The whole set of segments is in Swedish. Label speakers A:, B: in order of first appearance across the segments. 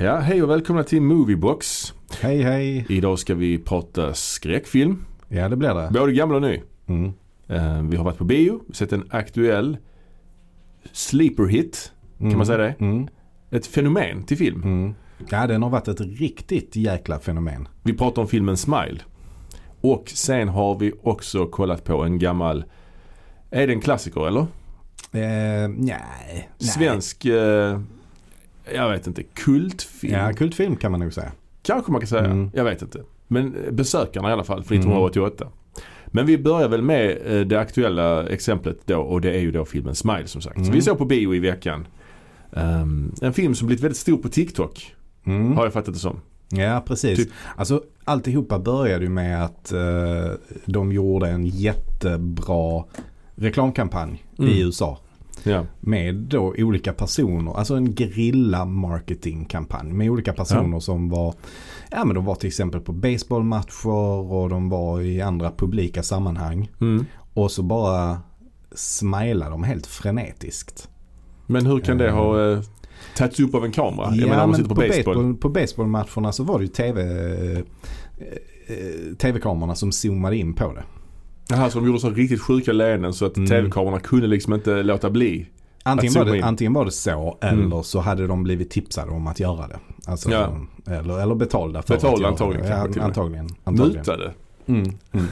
A: hej och välkomna till Moviebox.
B: Hej hej.
A: Idag ska vi prata skräckfilm,
B: Ja det blir det.
A: både gammal och ny.
B: Mm.
A: Eh, Vi har varit på bio, sett en aktuell sleeper hit,
B: Mm.
A: man säga det?
B: Mm.
A: ett fenomen till film.
B: Mm. Ja den har varit ett riktigt jäkla fenomen.
A: Vi pratar om filmen Smile. Och sen har vi också kollat på en gammal, är det en klassiker eller?
B: Eh, nej.
A: Svensk, eh, jag vet inte, kultfilm.
B: Ja, kultfilm kan man nog säga.
A: Kanske man kan säga.
B: Mm.
A: Jag vet inte. Men eh, besökarna i alla fall från
B: Mm.
A: 1988. Men vi börjar väl med eh, det aktuella exemplet då och det är ju då filmen Smile som sagt. Så
B: Mm.
A: vi såg på bio i veckan. Ehm, en film som blivit väldigt stor på TikTok
B: Mm.
A: har jag fattat det som.
B: Ja precis.
A: Typ-
B: Alltså alltihopa började ju med att eh, de gjorde en jättebra reklamkampanj
A: Mm.
B: i USA.
A: Ja.
B: Med då olika personer, alltså en grilla marketingkampanj med olika personer som var, ja men de var till exempel på baseballmatcher och de var i andra publika sammanhang.
A: Mm.
B: Och så bara smilade de helt frenetiskt.
A: Men hur kan det ha eh, tagits upp av en kamera? jag menar om man sitter på, baseball.
B: Ehm. på baseballmatcherna så var det ju tv, eh, eh, tv-kamerorna som zoomade in på det.
A: Jaha, så de gjorde så riktigt sjuka leenden så att
B: Mm.
A: tv-kamerorna kunde liksom inte låta bli.
B: Antingen
A: Att
B: var
A: zooma
B: det,
A: in.
B: antingen var det så
A: Mm.
B: eller så hade de blivit tipsade om att göra det. Alltså,
A: Ja.
B: som- eller, eller betalda för
A: Betalda
B: att göra
A: antagligen
B: det.
A: kanske till
B: Ja,
A: och med.
B: antagligen. antagligen.
A: Mutade.
B: Mm. Mm.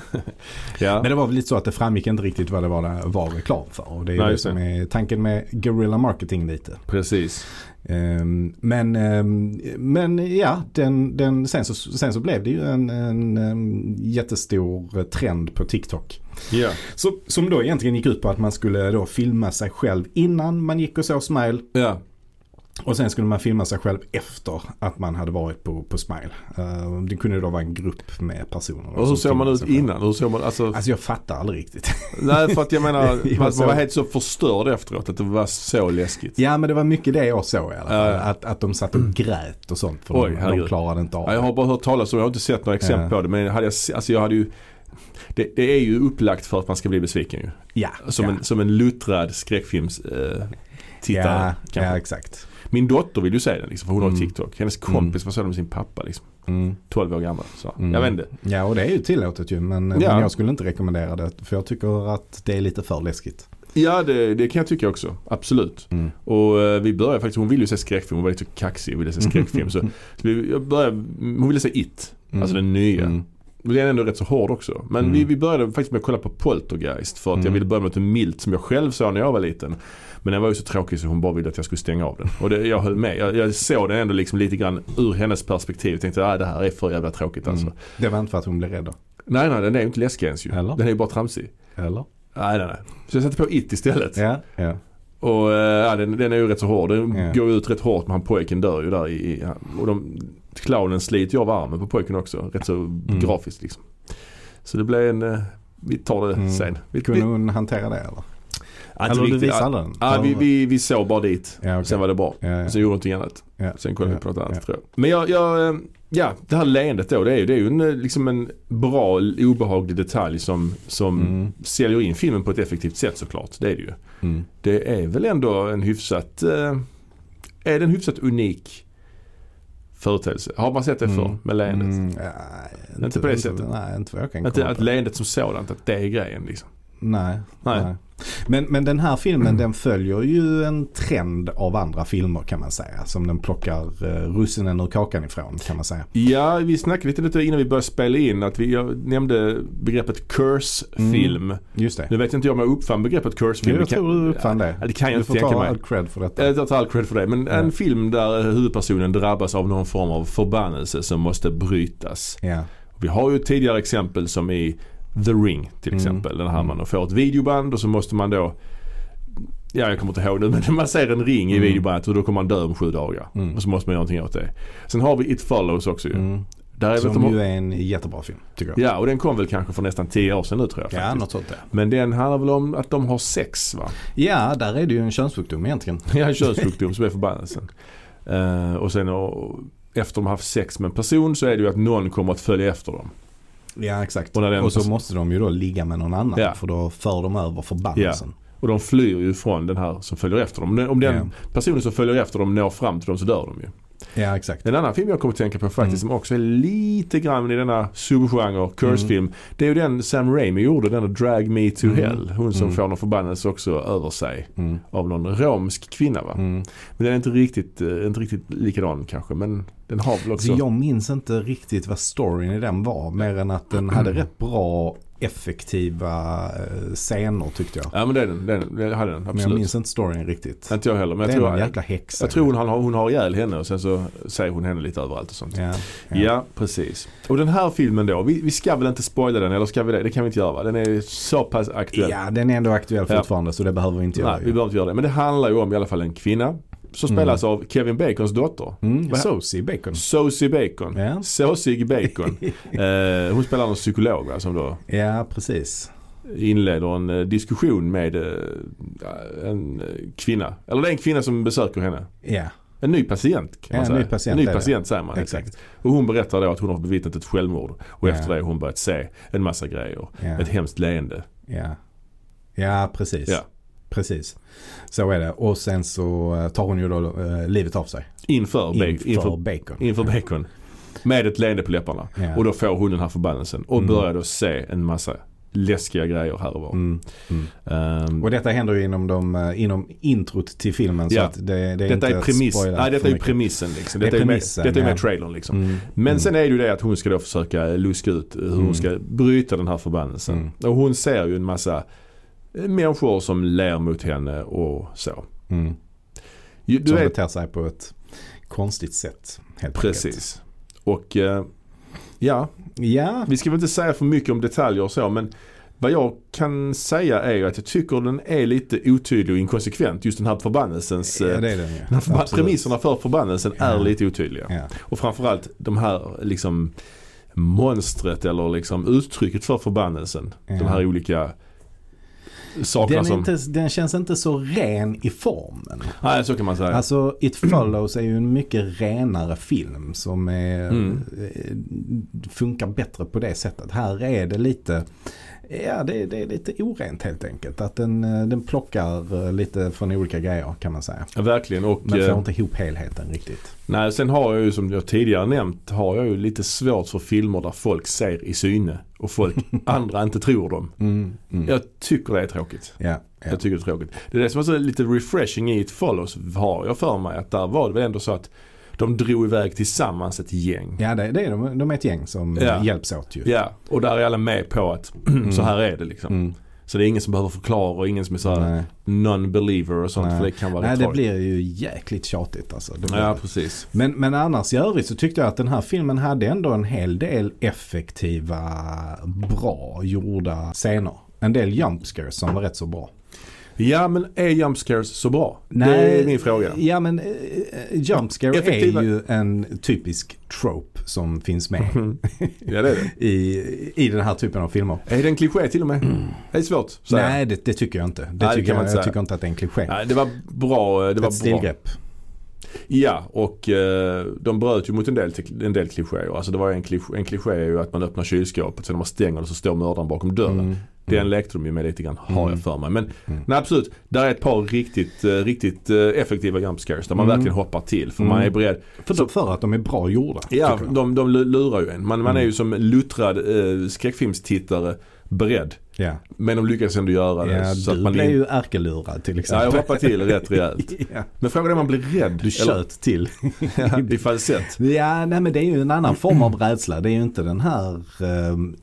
A: Ja.
B: Men det var väl lite så att det framgick inte riktigt vad det var, det var reklam för. Och det är
A: Nej,
B: ju det
A: just det.
B: som är tanken med guerrilla marketing lite.
A: Precis.
B: Ehm, men, ehm, men ja, den, den, sen, så, sen så blev det ju en, en, em, jättestor trend på TikTok.
A: Ja.
B: Så, som då egentligen gick ut på att man skulle då filma sig själv innan man gick och såg Smile.
A: Ja.
B: Och sen skulle man filma sig själv efter att man hade varit på, på Smile. Eh, det kunde då vara en grupp med personer. då
A: Och hur
B: Alltså, som
A: såg man
B: filmade
A: ut
B: sig själv.
A: innan? Hur såg man, alltså,
B: Alltså jag fattar aldrig riktigt.
A: nej för att jag menar,
B: Jag
A: man, man
B: såg-
A: var helt så förstörd efteråt att det var så läskigt.
B: Ja men det var mycket det jag såg i alla fall.
A: Ja.
B: Att, att de satt och grät och sånt. För
A: Oj,
B: de,
A: herregud.
B: de klarade inte av
A: Ja, jag har bara hört talas om, jag har inte sett några exempel
B: Ja.
A: på det men hade jag, se- alltså jag hade ju det, det är ju upplagt för att man ska bli besviken ju.
B: ja,
A: Som,
B: ja.
A: en, som en luttrad skräckfilms eh, tittare.
B: ja,
A: kanske.
B: ja exakt.
A: Min dotter vill ju se den liksom, för hon har
B: Mm.
A: TikTok. Hennes kompis var såg den med sin pappa liksom.
B: Mm.
A: 12 år gammal. Så.
B: Mm.
A: Jag vet inte.
B: Ja och det är ju tillåtet ju men, men
A: Ja.
B: jag skulle inte rekommendera det. För jag tycker att det är lite för läskigt.
A: Ja det, det kan jag tycka också. Absolut.
B: Mm.
A: Och eh, vi började faktiskt, hon ville ju se skräckfilm. Hon var lite så kaxig och ville se skräckfilm. så, så vi, jag började, hon ville se It.
B: Mm.
A: Alltså den nya.
B: Mm.
A: Men Den är ändå rätt så hård också. Men
B: Mm.
A: vi, vi började faktiskt med att kolla på Poltergeist. För att jag
B: Mm.
A: ville börja med något milt som jag själv såg när jag var liten. Men den var ju så tråkig så hon bara ville att jag skulle stänga av den. Och det, jag höll med. Jag, jag såg den ändå liksom lite grann ur hennes perspektiv. Jag tänkte att det här är för jävla tråkigt alltså.
B: Mm. Det var inte för att hon blev rädd då?
A: Nej nej den är ju inte läskig ens ju.
B: Eller?
A: Den är ju bara tramsig.
B: Eller?
A: Nej nej nej. Så jag satte på It istället.
B: Ja. ja.
A: Och eh, ja, den, den är ju rätt så hård. Den
B: Ja.
A: går ju ut rätt hårt men han pojken dör ju där i... i och de, clownen sliter ju av armen på pojken också. Rätt så
B: Mm.
A: grafiskt liksom. Så det blev en... eh, Vi tar det
B: Mm.
A: sen. Vi,
B: Kunde
A: vi,
B: hon hantera det eller?
A: ja, inte
B: eller du
A: riktigt.
B: visade
A: Ja,
B: den?
A: ja, vi, vi, vi såg bara dit.
B: Ja, okej.
A: Sen alltså, var det bra.
B: Ja, ja.
A: Sen gjorde vi någonting annat.
B: Ja.
A: Sen kollade vi
B: Ja.
A: på något annat
B: Ja.
A: tror jag. Men jag, jag, eh, ja det här leendet då. Det är ju, det är ju en, eh, liksom en bra obehaglig detalj som, som
B: Mm.
A: säljer in filmen på ett effektivt sätt såklart. Det är det ju.
B: Mm.
A: Det är väl ändå en hyfsat eh, Är det en hyfsat unik företeelse? Har man sett det
B: Mm.
A: förr med leendet?
B: Mm, ja,
A: Inte på det sättet.
B: Nej, inte vad jag kan
A: Att,
B: komma
A: att
B: på.
A: leendet som sådant, att det är grejen liksom.
B: Nej.
A: Nej. Mm.
B: nej. Men, men den här filmen den följer ju en trend av andra filmer kan man säga. Som den plockar eh, russinen ur kakan ifrån kan man säga.
A: Ja, vi snackade lite, lite innan vi började spela in att vi, jag nämnde begreppet curse-film.
B: Just det.
A: Nu vet inte jag om jag uppfann begreppet curse-film.
B: Jag
A: Det kan-
B: tror du uppfann det.
A: Ja, det kan jag
B: du
A: inte
B: får
A: tänka
B: ta
A: mig.
B: all cred för detta.
A: Jag tar all cred för det. Men en
B: Ja.
A: film där huvudpersonen drabbas av någon form av förbannelse som måste brytas.
B: Ja.
A: Vi har ju ett tidigare exempel som i The Ring till
B: Mm.
A: exempel. Den här
B: Mm.
A: man får ett videoband och så måste man då Ja jag kommer inte ihåg nu men man ser en ring i
B: Mm.
A: videobandet och då kommer man dö om sju dagar.
B: Mm.
A: Och så måste man göra någonting åt det. Sen har vi It Follows också ju.
B: Mm.
A: Där är väl
B: Som
A: de,
B: ju är en jättebra film tycker jag.
A: ja och den kom väl kanske för nästan tio år sedan nu tror jag.
B: Ja,
A: faktiskt.
B: något sånt där.
A: Men den handlar väl om att de har sex va?
B: Ja, där är det ju en könssjukdom egentligen.
A: Ja, en könssjukdom som är förbannelsen. Eh, och sen och, efter de har haft sex med en person så är det ju att någon kommer att följa efter dem.
B: Ja, exakt.
A: Och
B: Och,
A: när den-
B: så måste de ju då ligga med någon annan
A: Ja.
B: för då för de över förbannelsen.
A: Och de flyr ju från den här som följer efter dem. Om den
B: Ja.
A: personen som följer efter dem når fram till dem så dör de ju.
B: Ja, exakt.
A: En annan film jag kommer att tänka på faktiskt
B: Mm.
A: som också är lite grann i denna subgenre, curse-film. Det är ju den Sam Raimi gjorde, den där Drag Me To
B: Mm.
A: Hell. Hon som
B: Mm.
A: får någon förbannelse också över sig
B: Mm.
A: av någon romsk kvinna va.
B: Mm.
A: Men den är inte riktigt, eh, inte riktigt likadan kanske men den har väl också.
B: Så jag minns inte riktigt vad storyn i den var. Mer än att den
A: Mm.
B: hade rätt bra effektiva eh, scener tyckte jag.
A: Ja men det är den, det är den, det hade den
B: Men jag
A: absolut.
B: minns inte storyn riktigt.
A: Inte jag heller men
B: det
A: jag
B: är
A: tror,
B: någon
A: jag,
B: jäkla häxa.
A: jag tror hon, han har, hon har ihjäl henne och sen så säger hon henne lite överallt och sånt.
B: Ja,
A: Ja. precis. Och den här filmen då, vi, vi ska väl inte spoila den eller ska vi det? Det kan vi inte göra va? Den är så pass aktuell.
B: ja, den är ändå aktuell
A: Ja.
B: fortfarande så det behöver vi inte göra.
A: Nej, vi behöver inte göra det. Men det handlar ju om i alla fall en kvinna som spelas av Kevin Bacons dotter.
B: mm,
A: Vad-
B: Sosie Bacon.
A: Sosie Bacon.
B: Ja.
A: Såsig Bacon. eh, hon spelar någon psykolog va, som då
B: Ja, precis.
A: inleder en eh, diskussion med eh, en eh, kvinna. Eller det är en kvinna som besöker henne.
B: Ja,
A: En ny patient kan
B: Ja,
A: man
B: en
A: säga.
B: ny patient
A: en ny
B: är det.
A: patient säger man.
B: exakt.
A: Och hon berättar då att hon har bevittnat ett självmord. Och
B: Ja.
A: efter det har hon börjat se en massa grejer.
B: Ja,
A: Ett hemskt leende.
B: ja. ja precis.
A: Ja.
B: Precis. Så är det. Och sen så eh, tar hon ju då eh, livet av sig.
A: Inför, Ba-
B: Inför,
A: inför,
B: Bacon.
A: inför Bacon. Med ett leende på läpparna.
B: Ja.
A: Och då får hon den här förbannelsen och
B: Mm.
A: börjar då se en massa läskiga grejer här och var.
B: Mm, mm.
A: Ehm,
B: Och detta händer ju inom, de, eh, inom introt till filmen. Så
A: Ja.
B: att det, det är
A: detta
B: inte
A: är,
B: att
A: premiss,
B: spoila
A: nej,
B: för
A: detta är ju
B: mycket.
A: premissen. Liksom.
B: Det är
A: Detta är ju med,
B: premissen,
A: detta är med
B: ja.
A: trailern liksom.
B: Mm.
A: Men
B: mm.
A: sen är det ju det att hon ska då försöka luska ut hur
B: Mm.
A: hon ska bryta den här förbannelsen.
B: Mm.
A: Och hon ser ju en massa eh, människor som ler mot henne och så.
B: Mm.
A: Ju- Du
B: Som
A: vet,
B: beter sig på ett konstigt sätt. Helt enkelt.
A: precis. Och eh, ja,
B: Ja,
A: Vi ska väl inte säga för mycket om detaljer och så men vad jag kan säga är ju att jag tycker den är lite otydlig och inkonsekvent. Just den här förbannelsens...
B: ja,
A: eh,
B: det är den ju.
A: den här förba-
B: Absolut.
A: premisserna för förbannelsen är
B: Ja.
A: lite otydliga.
B: Ja.
A: Och framförallt de här liksom monstret eller liksom uttrycket för förbannelsen.
B: Ja.
A: De här olika sakerna
B: Den, är
A: som...
B: inte, den känns inte så ren i formen.
A: Nej, Mm. så kan man säga.
B: Alltså It Follows är ju en mycket renare film som är,
A: Mm.
B: eh, funkar bättre på det sättet. Här är det lite Ja, det, det är lite orent helt enkelt. Att den, eh, den plockar eh, lite från olika grejer kan man säga.
A: Ja, Verkligen. Och,
B: Men får
A: eh,
B: inte ihop helheten riktigt.
A: nej, sen har jag ju som jag tidigare nämnt har jag ju lite svårt för filmer där folk ser i syne och folk andra inte tror dem.
B: Mm, mm. Ja,
A: Jag tycker det är tråkigt.
B: ja, ja.
A: Jag tycker det är tråkigt. Det är det som är så lite refreshing i It Follows har jag för mig. Att där var det väl ändå så att de drog iväg tillsammans ett gäng.
B: det, det är de, de är ett gäng som
A: Ja.
B: eh, hjälps åt ju.
A: Ja, och där är alla med på att så här är det liksom.
B: Mm.
A: Så det är ingen som behöver förklara och ingen som är så här
B: Nej,
A: non-believer och sånt.
B: Nej.
A: För det kan vara
B: Nej,
A: rätt
B: det
A: tråkigt.
B: blir ju jäkligt tjatigt alltså. Det blir
A: Ja,
B: det.
A: precis.
B: Men, men annars i övrigt så tyckte jag att den här filmen hade ändå en hel del effektiva, bra gjorda scener. En del jump scares som var rätt så bra.
A: Ja, men är jump scares så bra? Det är min fråga.
B: Ja men eh, eh, jump scare
A: Effektiva-
B: är ju en typisk trope som finns med
A: Mm. Ja, det är det.
B: i, i den här typen av filmer.
A: Är det en kliché till och med? Det är svårt att säga.
B: Mm. Nej det, det tycker jag inte. Det
A: det
B: tycker
A: kan man inte
B: jag, jag
A: säga.
B: tycker inte att det är en kliché.
A: Nej, det var bra. eh, Det var
B: Ett
A: bra.
B: stilgrepp.
A: Ja, och eh, de bröt ju mot en del, en del klichéer. Alltså det var en kliché, en kliché är ju att man öppnar kylskåpet, sen när man stänger det så står mördaren bakom dörren.
B: Mm.
A: Den lekte de ju med lite grann, har
B: Mm.
A: jag för mig. Men
B: Mm.
A: nej, absolut, där är ett par riktigt, eh, riktigt eh, effektiva jump scares där man
B: Mm.
A: verkligen hoppar till. För
B: Mm.
A: man är beredd.
B: För, för att de är bra gjorda.
A: Ja,
B: tycker jag.
A: de, de lu- lurar ju en. Man, man är
B: Mm.
A: ju som luttrad eh, skräckfilmstittare beredd.
B: ja.
A: Men de lyckas ändå göra det.
B: ja
A: så att
B: du
A: man
B: blev
A: in-
B: ju ärkelurad till
A: Ja,
B: exempel.
A: jag hoppar till rätt rejält.
B: Ja.
A: Men frågan är om man blir rädd.
B: Du tjöt till.
A: eller, I falsett.
B: Ja, nej men det är ju en annan form av rädsla. Det är ju inte den här... ehm,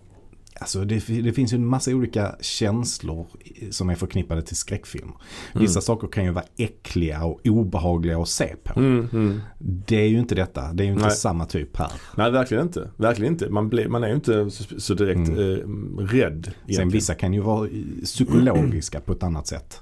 B: alltså det, fi- det finns ju en massa olika känslor i- som är förknippade till skräckfilmer.
A: Mm.
B: Vissa saker kan ju vara äckliga och obehagliga att se på.
A: Mm, mm.
B: Det är ju inte detta. Det är ju inte
A: Nej.
B: samma typ här.
A: Nej, verkligen inte. Verkligen inte. Man, blir, man är ju inte så, så direkt
B: Mm.
A: eh, rädd.
B: Sen
A: egentligen.
B: vissa kan ju vara eh, psykologiska på ett annat sätt.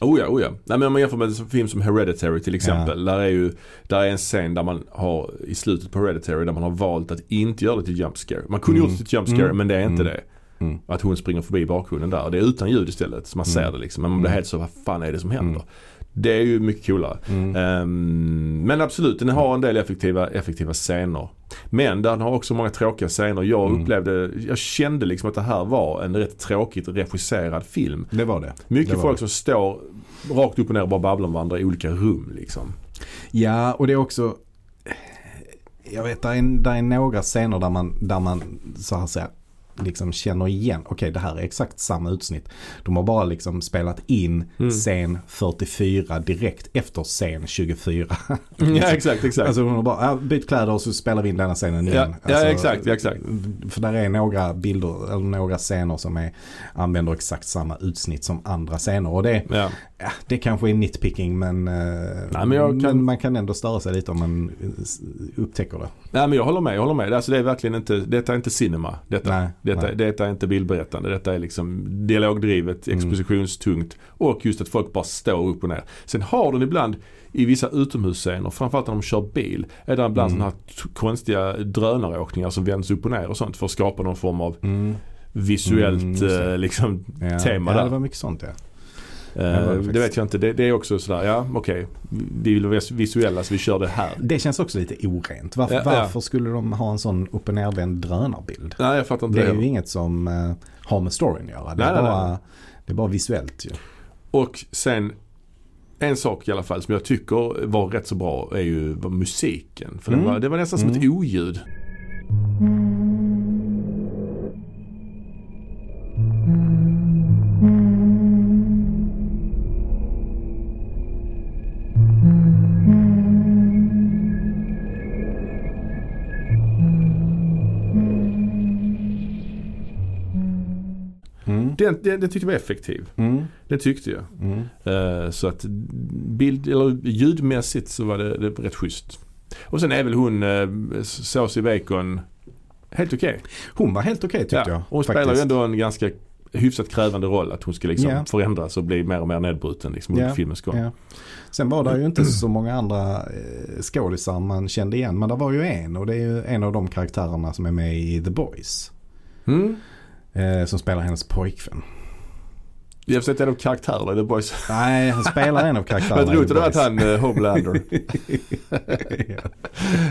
A: Oh ja, oh ja. Nej, men om man jämför med en film som Hereditary till exempel. Där, är ju, där är en scen där man har i slutet på Hereditary där man har valt att inte göra det till jump scare. Man kunde
B: Mm.
A: gjort det till jump scare
B: Mm.
A: men det är inte
B: Mm.
A: det.
B: Mm.
A: Att hon springer förbi bakgrunden där. Det är utan ljud istället. Så man
B: Mm.
A: ser det liksom. Men man blir helt så, vad fan är det som händer? Det är ju mycket coolare.
B: Mm.
A: Ehm, men absolut, den har en del effektiva, effektiva scener. Men den har också många tråkiga scener. Jag
B: Mm.
A: upplevde, jag kände liksom att det här var en rätt tråkigt regisserad film.
B: Det var det. Det
A: Mycket
B: var
A: folk
B: det.
A: som står rakt upp och ner och bara babblar med varandra i olika rum liksom.
B: Ja, och det är också... Jag vet, där är, där är några scener där man, där man så här säger, liksom känner igen. Okej, det här är exakt samma utsnitt. De har bara liksom spelat in
A: Mm.
B: scen 44 direkt efter scen 24.
A: Mm, Ja exakt, exakt.
B: Alltså hon har bara, ja, bytt kläder och så spelar vi in denna scenen igen.
A: ja,
B: alltså,
A: ja exakt, ja, exakt.
B: För där är några bilder, eller några scener som är, använder exakt samma utsnitt som andra scener. Och det,
A: Ja.
B: ja, det kanske är nitpicking men, eh,
A: Nej, men jag kan-
B: man kan ändå störa sig lite om man eh, s- upptäcker det.
A: Nej men jag håller med, jag håller med. Alltså det är verkligen inte, detta är inte cinema. Detta,
B: Nej,
A: detta,
B: nej.
A: detta är inte bildberättande. Detta är liksom dialogdrivet,
B: Mm.
A: expositionstungt och just att folk bara står upp och ner. Sen har den ibland i vissa utomhusscener, framförallt när de kör bil, är det ibland
B: Mm.
A: sådana här t- konstiga drönaråkningar som vänds upp och ner och sånt för att skapa någon form av
B: Mm, Mm,
A: visuellt
B: just det.
A: eh, liksom,
B: ja.
A: Tema
B: ja,
A: där.
B: det var mycket sånt ja.
A: eh,
B: det var det
A: det,
B: faktiskt.
A: vet jag inte. Det, det är också sådär, ja okej, vi vill vara visuella så vi kör det här.
B: Det känns också lite orent. Varför,
A: Ja, ja.
B: varför skulle de ha en sån upp och nervänd drönarbild?
A: Nej jag fattar inte
B: Det
A: det,
B: är
A: heller.
B: ju inget som eh, har med storyn att göra. Det
A: Nej,
B: är,
A: nej, nej.
B: bara, det är bara visuellt ju.
A: Och sen en sak i alla fall som jag tycker var rätt så bra är ju var musiken. För
B: Mm.
A: det, var, det var nästan som ett
B: Mm.
A: oljud.
B: Mm,
A: Den, den, den tyckte jag var effektiv.
B: mm,
A: Det tyckte jag.
B: mm.
A: Eh, så att bild, eller ljudmässigt så var det, det var rätt schysst. Och sen är väl hon eh, sås i bacon helt okej.
B: Hon var helt okej tyckte jag.
A: Hon spelar ju ändå en ganska hyfsat krävande roll att hon ska liksom
B: Ja.
A: förändras och bli mer och mer nedbruten liksom
B: Ja.
A: under filmens gång.
B: Ja. Sen var det ju inte så många andra eh, skådisar man kände igen. Men det var ju en och det är ju en av de karaktärerna som är med i The Boys.
A: Mm.
B: Eh, som spelar hennes pojkvän.
A: Jag försökte en av karaktärerna i The Boys.
B: Nej, han spelar en av karaktärerna
A: Vad roligt
B: i The
A: det var att
B: Boys.
A: han eh, Homelander.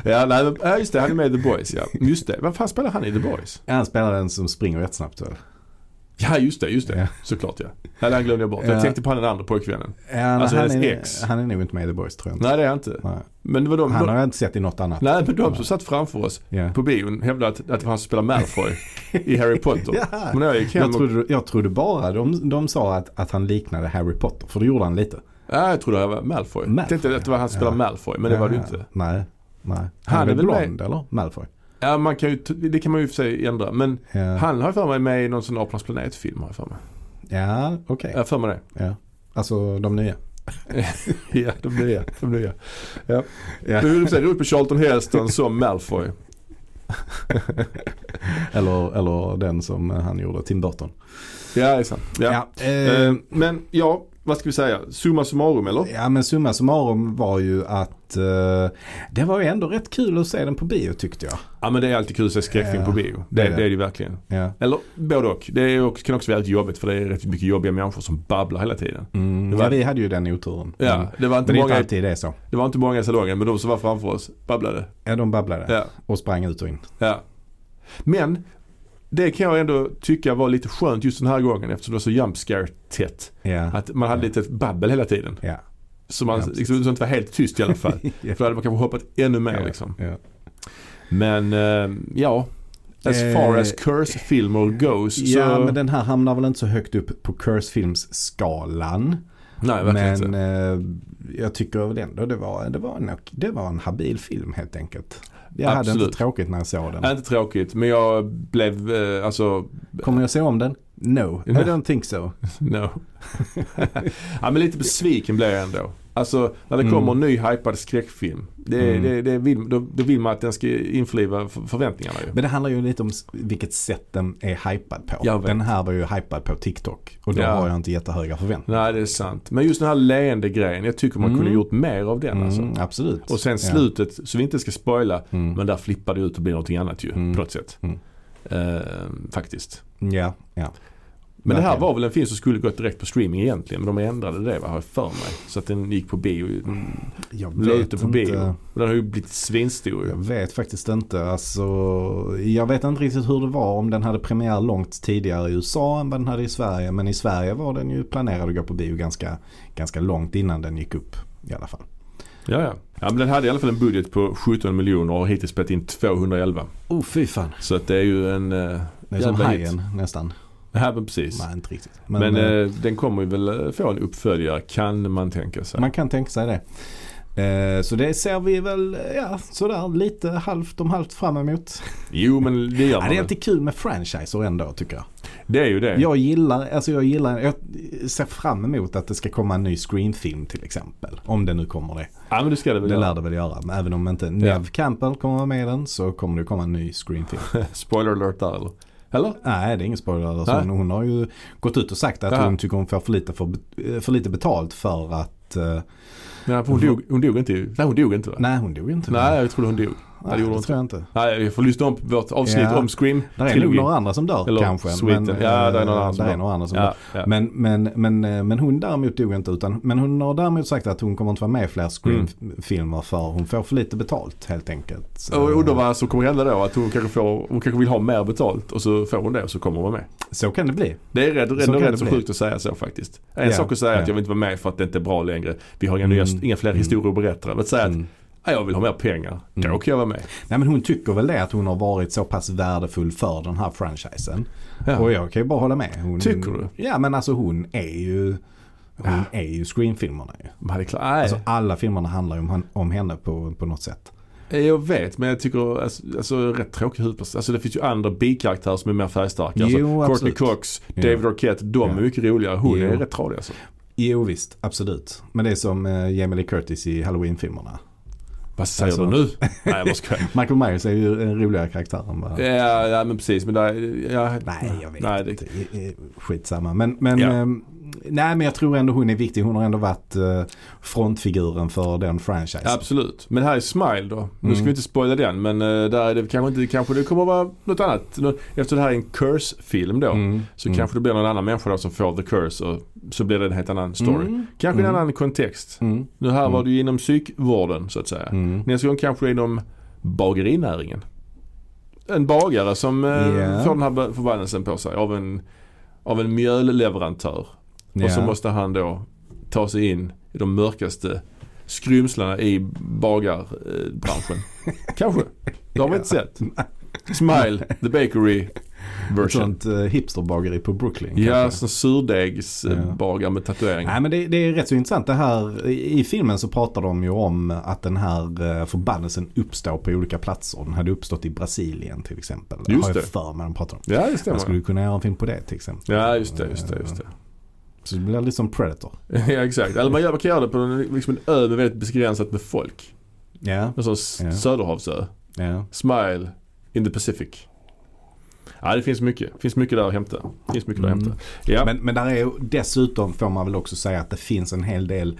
A: Ja, nej, men- ja, just det. Han är med i The Boys, ja. Just det. Vad fan spelar han i The Boys?
B: Ja, han spelar den som springer rätt snabbt väl?
A: Ja, just det. Just det.
B: Ja.
A: Såklart ja. Nej, det här glömde jag bort. Jag
B: Ja.
A: tänkte på han den andra pojkvännen.
B: Ja, men
A: Alltså,
B: han,
A: hennes
B: är,
A: ex.
B: han är nog inte med i The Boys tror jag inte.
A: Nej, det är han inte.
B: Nej.
A: Men det var de,
B: Han har
A: de,
B: jag inte sett i något annat.
A: nej, men de som satt framför oss
B: Ja.
A: på bion hävdade att, att det var han som spelade Malfoy i Harry Potter.
B: Ja.
A: Men när jag gick hem
B: Jag
A: och...
B: trodde, jag trodde bara de, de sa att, att han liknade Harry Potter. För det gjorde han lite.
A: Ja, jag trodde det var Malfoy.
B: Malfoy,
A: Jag tänkte att det var han som spelade
B: ja.
A: Malfoy, men det var det ju inte.
B: Nej. Nej. Han,
A: Han
B: är
A: är
B: väl
A: väl med-
B: blond eller? Malfoy.
A: Ja, man kan ju, t- det kan man ju i och för sig ändra. Men
B: Ja,
A: han har jag för mig med i någon sån Apornas planet-film har jag för mig.
B: ja okej.
A: Jag har för mig det.
B: Ja. Alltså de nya.
A: Ja, de nya. De nya. Ja.
B: Ja.
A: Du vill säga roligt på Charlton Heston som Malfoy.
B: Eller, eller den som eh, han gjorde, Tim Burton.
A: Ja, det är sant. Ja.
B: Ja, eh,
A: Eh, men ja, vad ska vi säga? Summa summarum eller?
B: ja men summa summarum var ju att eh, det var ju ändå rätt kul att se den på bio tyckte jag.
A: Ja men det är alltid kul att se skräckfilm
B: Ja,
A: på bio.
B: det
A: Det,
B: är
A: det,
B: det.
A: är det ju verkligen.
B: Ja.
A: Eller både och. Det är också, kan också vara väldigt jobbigt för det är rätt mycket jobbiga människor som babblar hela tiden.
B: Mm,
A: Det var-
B: ja, vi hade ju den oturen.
A: Ja,
B: Men,
A: det, var inte
B: Mm. men det är inte
A: många,
B: alltid det är så.
A: det var inte många i salongen men de som var framför oss babblade.
B: Ja, de babblade
A: Ja,
B: och sprang ut och in.
A: ja. Men det kan jag ändå tycka var lite skönt just den här gången eftersom det var så jump scare tätt.
B: Ja.
A: Att man hade lite babbel hela tiden.
B: Ja.
A: Så man
B: Ja, precis.
A: liksom, så det inte var helt tyst i alla fall.
B: Ja.
A: För då hade man kanske hoppat ännu mer liksom.
B: Ja.
A: Men eh, ja, as
B: Eh,
A: far as curse-filmer goes
B: ja,
A: så...
B: men den här hamnar väl inte så högt upp på Curse-filmsskalan.
A: nej, verkligen inte.
B: Men eh, jag tycker väl ändå det var, det, var en, det var en habil film helt enkelt. Jag hade
A: Absolut. Äh,
B: inte tråkigt när jag såg den.
A: Ja, Inte tråkigt men jag blev eh, alltså
B: Kommer jag se om den? No, I
A: Nej.
B: don't think so.
A: no. ja men lite besviken blev jag ändå. Alltså när det
B: Mm.
A: kommer en ny hypad skräckfilm. Det,
B: Mm.
A: det, det vill, då, då vill man att den ska införliva f- förväntningarna ju.
B: Men det handlar ju lite om s- vilket sätt den är hypad på.
A: Jag vet.
B: Den här var ju hypad på TikTok och då
A: Ja.
B: har jag inte jättehöga förväntningar.
A: Nej det är sant. Men just den här leende grejen. Jag tycker man
B: Mm.
A: kunde gjort mer av den
B: Mm,
A: alltså.
B: absolut.
A: Och sen slutet, så vi inte ska spoila.
B: Ja. Mm.
A: Men där flippar det ut och blir någonting annat ju
B: Mm.
A: på något sätt.
B: Mm.
A: Eh, faktiskt.
B: ja, ja.
A: Men det här
B: Verkligen.
A: var väl en film som skulle gått direkt på streaming egentligen. Men de ändrade det, vad har jag för mig. Så att den gick på bio.
B: Jag
A: La
B: vet
A: ut den på
B: inte.
A: bio. Och den har ju blivit svinstor
B: Jag
A: ju.
B: vet faktiskt inte. Alltså, jag vet inte riktigt hur det var om den hade premiär långt tidigare i USA än vad den hade i Sverige. Men i Sverige var den ju planerad att gå på bio ganska, ganska långt innan den gick upp i alla fall.
A: Ja, ja. ja, men den hade i alla fall en budget på 17 miljoner och har hittills spelat in 211.
B: Oh fy fan.
A: Så att det är ju en... eh,
B: Det är som
A: jävla hit.
B: Hajen nästan.
A: Ja, men precis.
B: Nej inte riktigt. Men,
A: Men,
B: eh,
A: eh, den kommer ju väl eh, få en uppföljare kan man tänka sig.
B: man kan tänka sig det. Eh, Så det ser vi väl ja, sådär lite halvt om halvt fram emot.
A: Jo men det gör
B: Ja,
A: man
B: det är
A: väl.
B: alltid kul med franchiser ändå tycker jag.
A: Det är ju det.
B: Jag gillar, alltså jag gillar, jag ser fram emot att det ska komma en ny Scream-film till exempel. Om det nu kommer det.
A: Ja men det ska det väl
B: Det
A: göra.
B: lär det väl göra. Men även om inte Nev Campbell kommer vara med i den så kommer det komma en ny Scream-film.
A: Spoiler alert där eller? Eller?
B: Nej, det är ingen spoiler. alert.
A: Nej.
B: Hon, hon har ju gått ut och sagt att
A: Ja.
B: hon tycker hon får för lite, för, för lite betalt för att... eh,
A: Nej, för hon, dog, hon dog inte ju. Nej hon dog inte va?
B: nej, hon dog ju inte.
A: Nej jag trodde hon dog.
B: Nej,
A: det
B: det
A: gjorde hon
B: tror jag inte.
A: Nej vi får lyssna om vårt avsnitt
B: Ja.
A: om Scream.
B: Där är nog
A: trilogin.
B: några andra som dör
A: Eller
B: kanske.
A: Sweeten. Ja,
B: eh,
A: där är några andra som
B: där
A: dör.
B: är några andra som dör.
A: Ja, ja.
B: Men, men, men, eh, men hon däremot dog inte utan, men hon har däremot sagt att hon kommer inte vara med i fler Scream-filmer för hon får för lite betalt helt enkelt. Så,
A: Och jag undrar vad som kommer hända då? Att hon kanske, får, hon kanske vill ha mer betalt och så får hon det och så kommer hon vara med.
B: så kan det bli.
A: Det är rätt, rätt,
B: Så kan
A: rätt
B: det
A: så
B: bli.
A: sjukt att säga så faktiskt. En
B: Ja,
A: sak att säga
B: ja.
A: att jag vill inte vara med för att det inte är bra längre. Vi har inga,
B: Mm.
A: nya, inga fler
B: Mm.
A: historier att berätta. Men att säga
B: Mm.
A: att "Nej, jag vill ha mer pengar. Då
B: Mm.
A: kan jag vara med.
B: Nej men hon tycker väl det att hon har varit så pass värdefull för den här franchisen.
A: Ja.
B: Och jag kan ju bara hålla med. Hon,
A: Tycker du?
B: Ja men alltså hon är ju, hon är ju Scream-filmerna ju.
A: Man hade klarat, nej,
B: Alltså alla filmerna handlar ju om, han- om henne på, på något sätt.
A: eh, jag vet men jag tycker alltså, alltså rätt tråkig huvudperson. Alltså det finns ju andra bikaraktärer som är mer färgstarka.
B: Jo,
A: Alltså, Courtney
B: absolut.
A: Cox,
B: Ja.
A: David Arquette, de
B: Ja.
A: är mycket roligare. Hon
B: Jo.
A: är rätt tradig alltså.
B: Jo visst, absolut. Men det är som eh, Jamie Lee Curtis i Halloween-filmerna.
A: Vad säger
B: Alltså-
A: du nu? nej jag bara skojar.
B: Michael Myers är ju en roligare karaktär än vad...
A: Eh, Ja, ja men precis men där, ja,
B: Nej, jag vet
A: Nej, det-
B: inte. Eh, eh, Skitsamma. Men, men,
A: Ja.
B: ehm, nej, men jag tror ändå hon är viktig. Hon har ändå varit eh, frontfiguren för den franchisen.
A: Absolut. Men här är Smile då. Nu ska
B: Mm.
A: vi inte spoila den men eh, där är det kanske inte, kanske det kommer vara något annat. Nå- Eftersom det här är en curse-film då.
B: Mm.
A: Så
B: Mm.
A: kanske det blir någon annan människa då som får the curse och så blir det en helt annan story.
B: Mm.
A: Kanske en
B: Mm.
A: annan kontext.
B: Mm.
A: Nu här var
B: Mm.
A: det ju inom psykvården så att säga.
B: Mm.
A: Nästa gång kanske det är inom bagerinäringen. En bagare som eh,
B: Ja.
A: får den här be- förbannelsen på sig av en, av en mjölleverantör. Och så
B: Ja.
A: måste han då ta sig in i de mörkaste skrymslena i bagarbranschen. Kanske. Det har vi inte sett. Smile, the bakery
B: Ett
A: version.
B: sånt eh, hipsterbageri på Brooklyn.
A: Ja,
B: kanske.
A: sån surdegsbagare med tatuering.
B: Nej men det, det är rätt så intressant. Det här, i, I filmen så pratar de ju om att den här eh, förbannelsen uppstår på olika platser. Den hade uppstått i Brasilien till exempel.
A: Just
B: har jag
A: det.
B: för mig de pratar om.
A: Ja, det
B: Man skulle
A: stämmer.
B: ju kunna göra en film på det till exempel.
A: Ja, just det, just det, just det.
B: Så det blir lite som Predator.
A: Ja, exakt. Eller man gör- man kan göra det på en, liksom en ö med väldigt begränsat med folk.
B: Ja,
A: En sån s-
B: Ja.
A: söderhavsö.
B: ja.
A: Smile in the Pacific. Ja, det finns mycket. finns mycket där att hämta. finns mycket där att
B: Mm.
A: hämta. Ja.
B: Men, men där är ju, dessutom får man väl också säga att det finns en hel del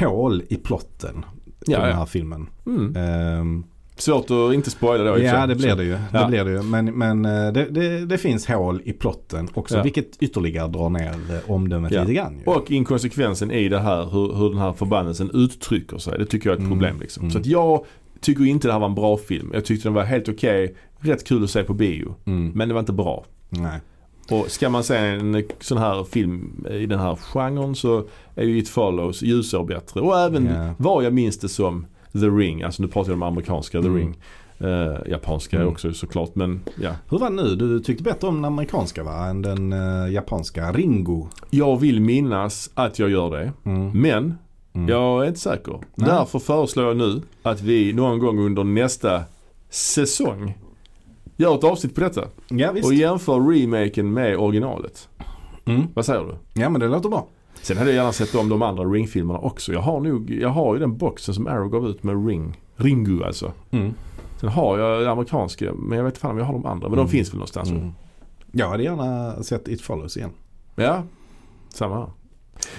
B: hål i plotten på
A: Ja,
B: den
A: ja.
B: här filmen.
A: Mm.
B: Ehm,
A: Svårt att inte spoila då i och för
B: ja
A: sig.
B: det blir
A: Så-
B: det ju.
A: Ja.
B: Det blir det ju. Men, men eh, det, det, det finns hål i plotten också
A: Ja.
B: vilket ytterligare drar ner eh, omdömet
A: Ja.
B: lite grann. Ju.
A: Och inkonsekvensen i det här, hur, hur den här förbannelsen uttrycker sig. Det tycker jag är ett
B: Mm.
A: problem liksom.
B: Mm.
A: Så att jag tycker inte det här var en bra film. Jag tyckte den var helt okej. Rätt kul att se på bio.
B: Mm.
A: Men det var inte bra.
B: Nej.
A: Och ska man se en sån här film i den här genren så är ju It Follows ljusår bättre. Och även
B: Ja.
A: vad jag minns det som The Ring. Alltså nu pratar jag om amerikanska The
B: Mm.
A: Ring. Eh, japanska
B: Mm.
A: också såklart men ja.
B: Hur var det nu? Du tyckte bättre om den amerikanska va? Än den eh, japanska Ringo.
A: Jag vill minnas att jag gör det.
B: Mm.
A: Men
B: Mm.
A: Jag är inte säker.
B: Nej.
A: Därför föreslår jag nu att vi någon gång under nästa säsong gör ett avsnitt på detta.
B: Ja visst.
A: Och jämför remaken med originalet.
B: Mm.
A: Vad säger du?
B: Ja men det låter bra.
A: Sen hade jag gärna sett om de andra Ring-filmerna också. Jag har, nog, jag har ju den boxen som Arrow gav ut med Ring. Ringu alltså.
B: Mm.
A: Sen har jag den amerikanska men jag vet inte fan om jag har de andra. Men
B: Mm.
A: de finns väl någonstans.
B: Mm. Jag hade gärna sett It Follows igen.
A: Ja, samma här.
B: Eh,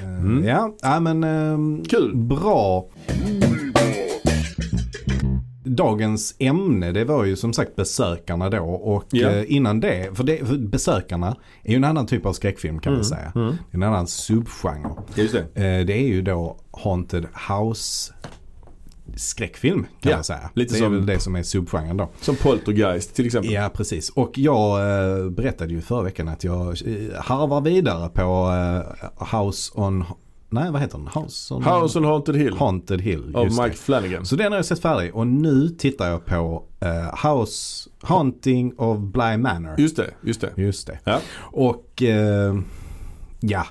A: Mm.
B: Ja, ja men ehm,
A: Kul!
B: bra. dagens ämne det var ju som sagt besökarna då och
A: Ja.
B: eh, innan det för, det, för besökarna är ju en annan typ av skräckfilm kan man säga.
A: mm.
B: Det är En annan subgenre.
A: Just det.
B: Eh, Det är ju då Haunted House skräckfilm kan
A: Ja,
B: man säga.
A: lite
B: det är
A: som-
B: väl det som är subgenren då.
A: Som Poltergeist till exempel.
B: Ja precis. Och jag eh, berättade ju förra veckan att jag eh, harvar vidare på eh, House on... Nej vad heter den? House on...
A: House Oh on Haunted Hill
B: Haunted Hill.
A: av
B: just
A: Mike Flanagan.
B: det. Så den har jag sett färdig och nu tittar jag på eh, House Haunting of Bly Manor.
A: Just det, just det.
B: Just det.
A: Ja.
B: Och eh, ja.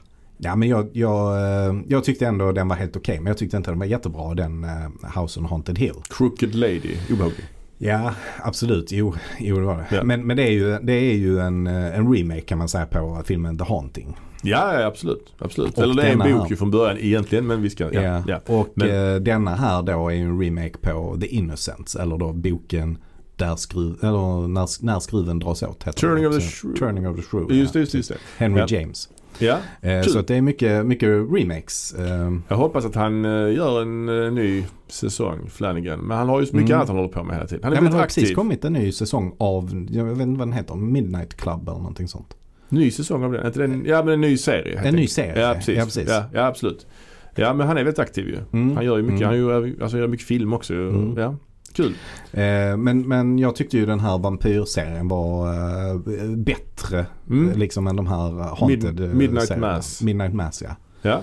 B: Ja men jag, jag, eh, jag tyckte ändå den var helt okej. men jag tyckte inte den var jättebra den eh, House on Haunted Hill.
A: Crooked Lady, obehaglig.
B: Ja, absolut. Jo, jo det var det.
A: Ja.
B: Men, men det är ju, det är ju en, eh, en remake kan man säga på filmen The Haunting.
A: Ja, ja absolut. absolut.
B: Och
A: Eller det är en
B: denna
A: bok
B: här.
A: ju från början egentligen men vi ska... Ja, ja.
B: Och
A: Men-
B: eh, denna här då är ju en remake på The Innocents. Eller då boken där skruv, eller när, när skruven dras åt. Heter
A: Turning
B: den.
A: of the
B: Så-
A: Shrew.
B: Turning of the Shrew.
A: Just det,
B: ja.
A: just det. Just det.
B: Henry
A: Ja.
B: James.
A: Ja.
B: Eh,
A: Kul.
B: så att det är mycket, mycket remakes. Eh,
A: Jag hoppas att han eh, gör en eh, ny säsong, Flanagan. Men han har ju så mycket
B: Mm.
A: annat han håller på med hela tiden. Han är
B: nej, men det
A: väldigt
B: har
A: aktiv.
B: precis kommit en ny säsong av, jag vet inte vad den heter, Midnight Club eller någonting sånt.
A: Ny säsong av den. Är Inte den ja, men en ny serie. helt
B: En ny
A: enkelt.
B: serie.
A: Ja, precis. Ja, Ja, absolut. Ja, men han är väldigt aktiv ju.
B: Mm.
A: Han gör ju mycket.
B: Mm.
A: Han gör, alltså, gör mycket film också.
B: Mm.
A: Ja. Kul.
B: Eh, men, men jag tyckte ju den här vampyrserien var eh, bättre
A: Mm.
B: eh, liksom än de här eh, haunted
A: Mid-
B: eh,
A: Midnight
B: serierna.
A: Mass.
B: Midnight Mass ja.
A: Ja.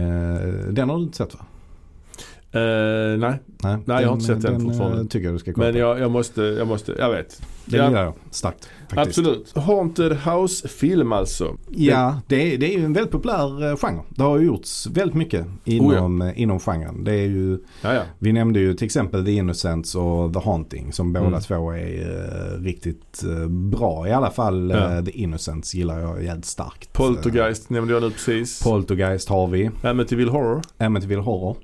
B: Eh, den har du inte sett va?
A: Eh, nej,
B: Nej,
A: jag har inte sett den fortfarande.
B: eh, tycker jag du ska kolla
A: men
B: på.
A: jag, jag måste, jag måste, jag vet.
B: Den
A: ja.
B: gillar jag starkt faktiskt.
A: Absolut. Haunted House-film alltså.
B: Ja, det är, det är ju en väldigt populär eh, genre. Det har ju gjorts väldigt mycket
A: Oh,
B: inom, eh, inom genren. Det är ju,
A: Ja, ja.
B: vi nämnde ju till exempel The Innocents och The Haunting som båda
A: Mm.
B: två är eh, riktigt eh, bra. I alla fall eh,
A: Ja.
B: The Innocents gillar jag jävligt starkt. Eh,
A: Poltergeist nämnde jag nu precis. Äh,
B: Poltergeist har vi.
A: Amityville Horror.
B: Amityville Horror.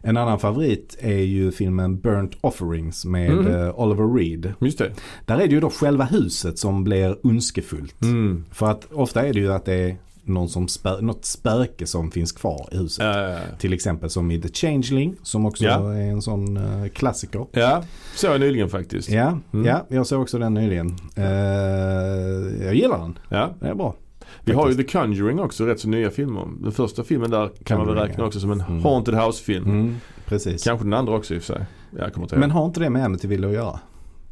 B: En annan favorit är ju filmen Burnt Offerings med
A: Mm.
B: eh, Oliver Reed.
A: Just det.
B: Där är det ju då själva huset som blir ondskefullt.
A: Mm.
B: För att ofta är det ju att det är någon som spö- något spöke som finns kvar i huset.
A: Eh,
B: Till exempel som i The Changeling som också
A: Ja.
B: är en sån eh, klassiker.
A: ja, såg jag nyligen faktiskt. Ja.
B: Ja,
A: Mm.
B: ja, jag såg också den nyligen. Eh, jag gillar den. Den är bra.
A: Vi har ju The Conjuring också, rätt så nya filmer. Den första filmen där kan man väl
B: Conjuring,
A: räkna
B: ja.
A: också som en
B: Mm.
A: Haunted House-film.
B: Mm, precis.
A: Kanske den andra också i och för sig. Jag kommer inte ihåg.
B: Men har inte det med Amityville att göra?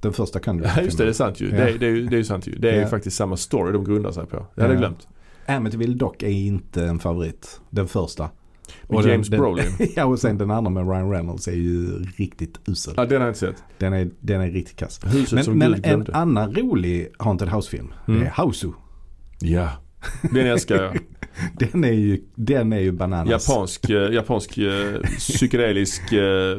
B: Den första Conjuring.
A: Ja just det, det är sant ju.
B: Ja.
A: Det, är- det, är, ju- det är ju sant ju. Det är ju
B: Ja.
A: faktiskt samma story de grundar sig på. Jag hade
B: Ja.
A: glömt.
B: Amityville dock är inte en favorit. Den första.
A: Med
B: Och den-
A: James
B: den-
A: Brolin.
B: ja och sen den andra med Ryan Reynolds är ju riktigt usel.
A: Ja, den har jag inte sett.
B: Den är, den är riktigt kass.
A: Huset
B: Men,
A: som Mm.
B: men
A: Gud
B: en
A: glömde.
B: annan rolig Haunted House-film, det är Hausu.
A: Ja. Den älskar jag.
B: Den är ju, den är ju bananas.
A: Japansk, eh, japansk eh, psykedelisk. eh,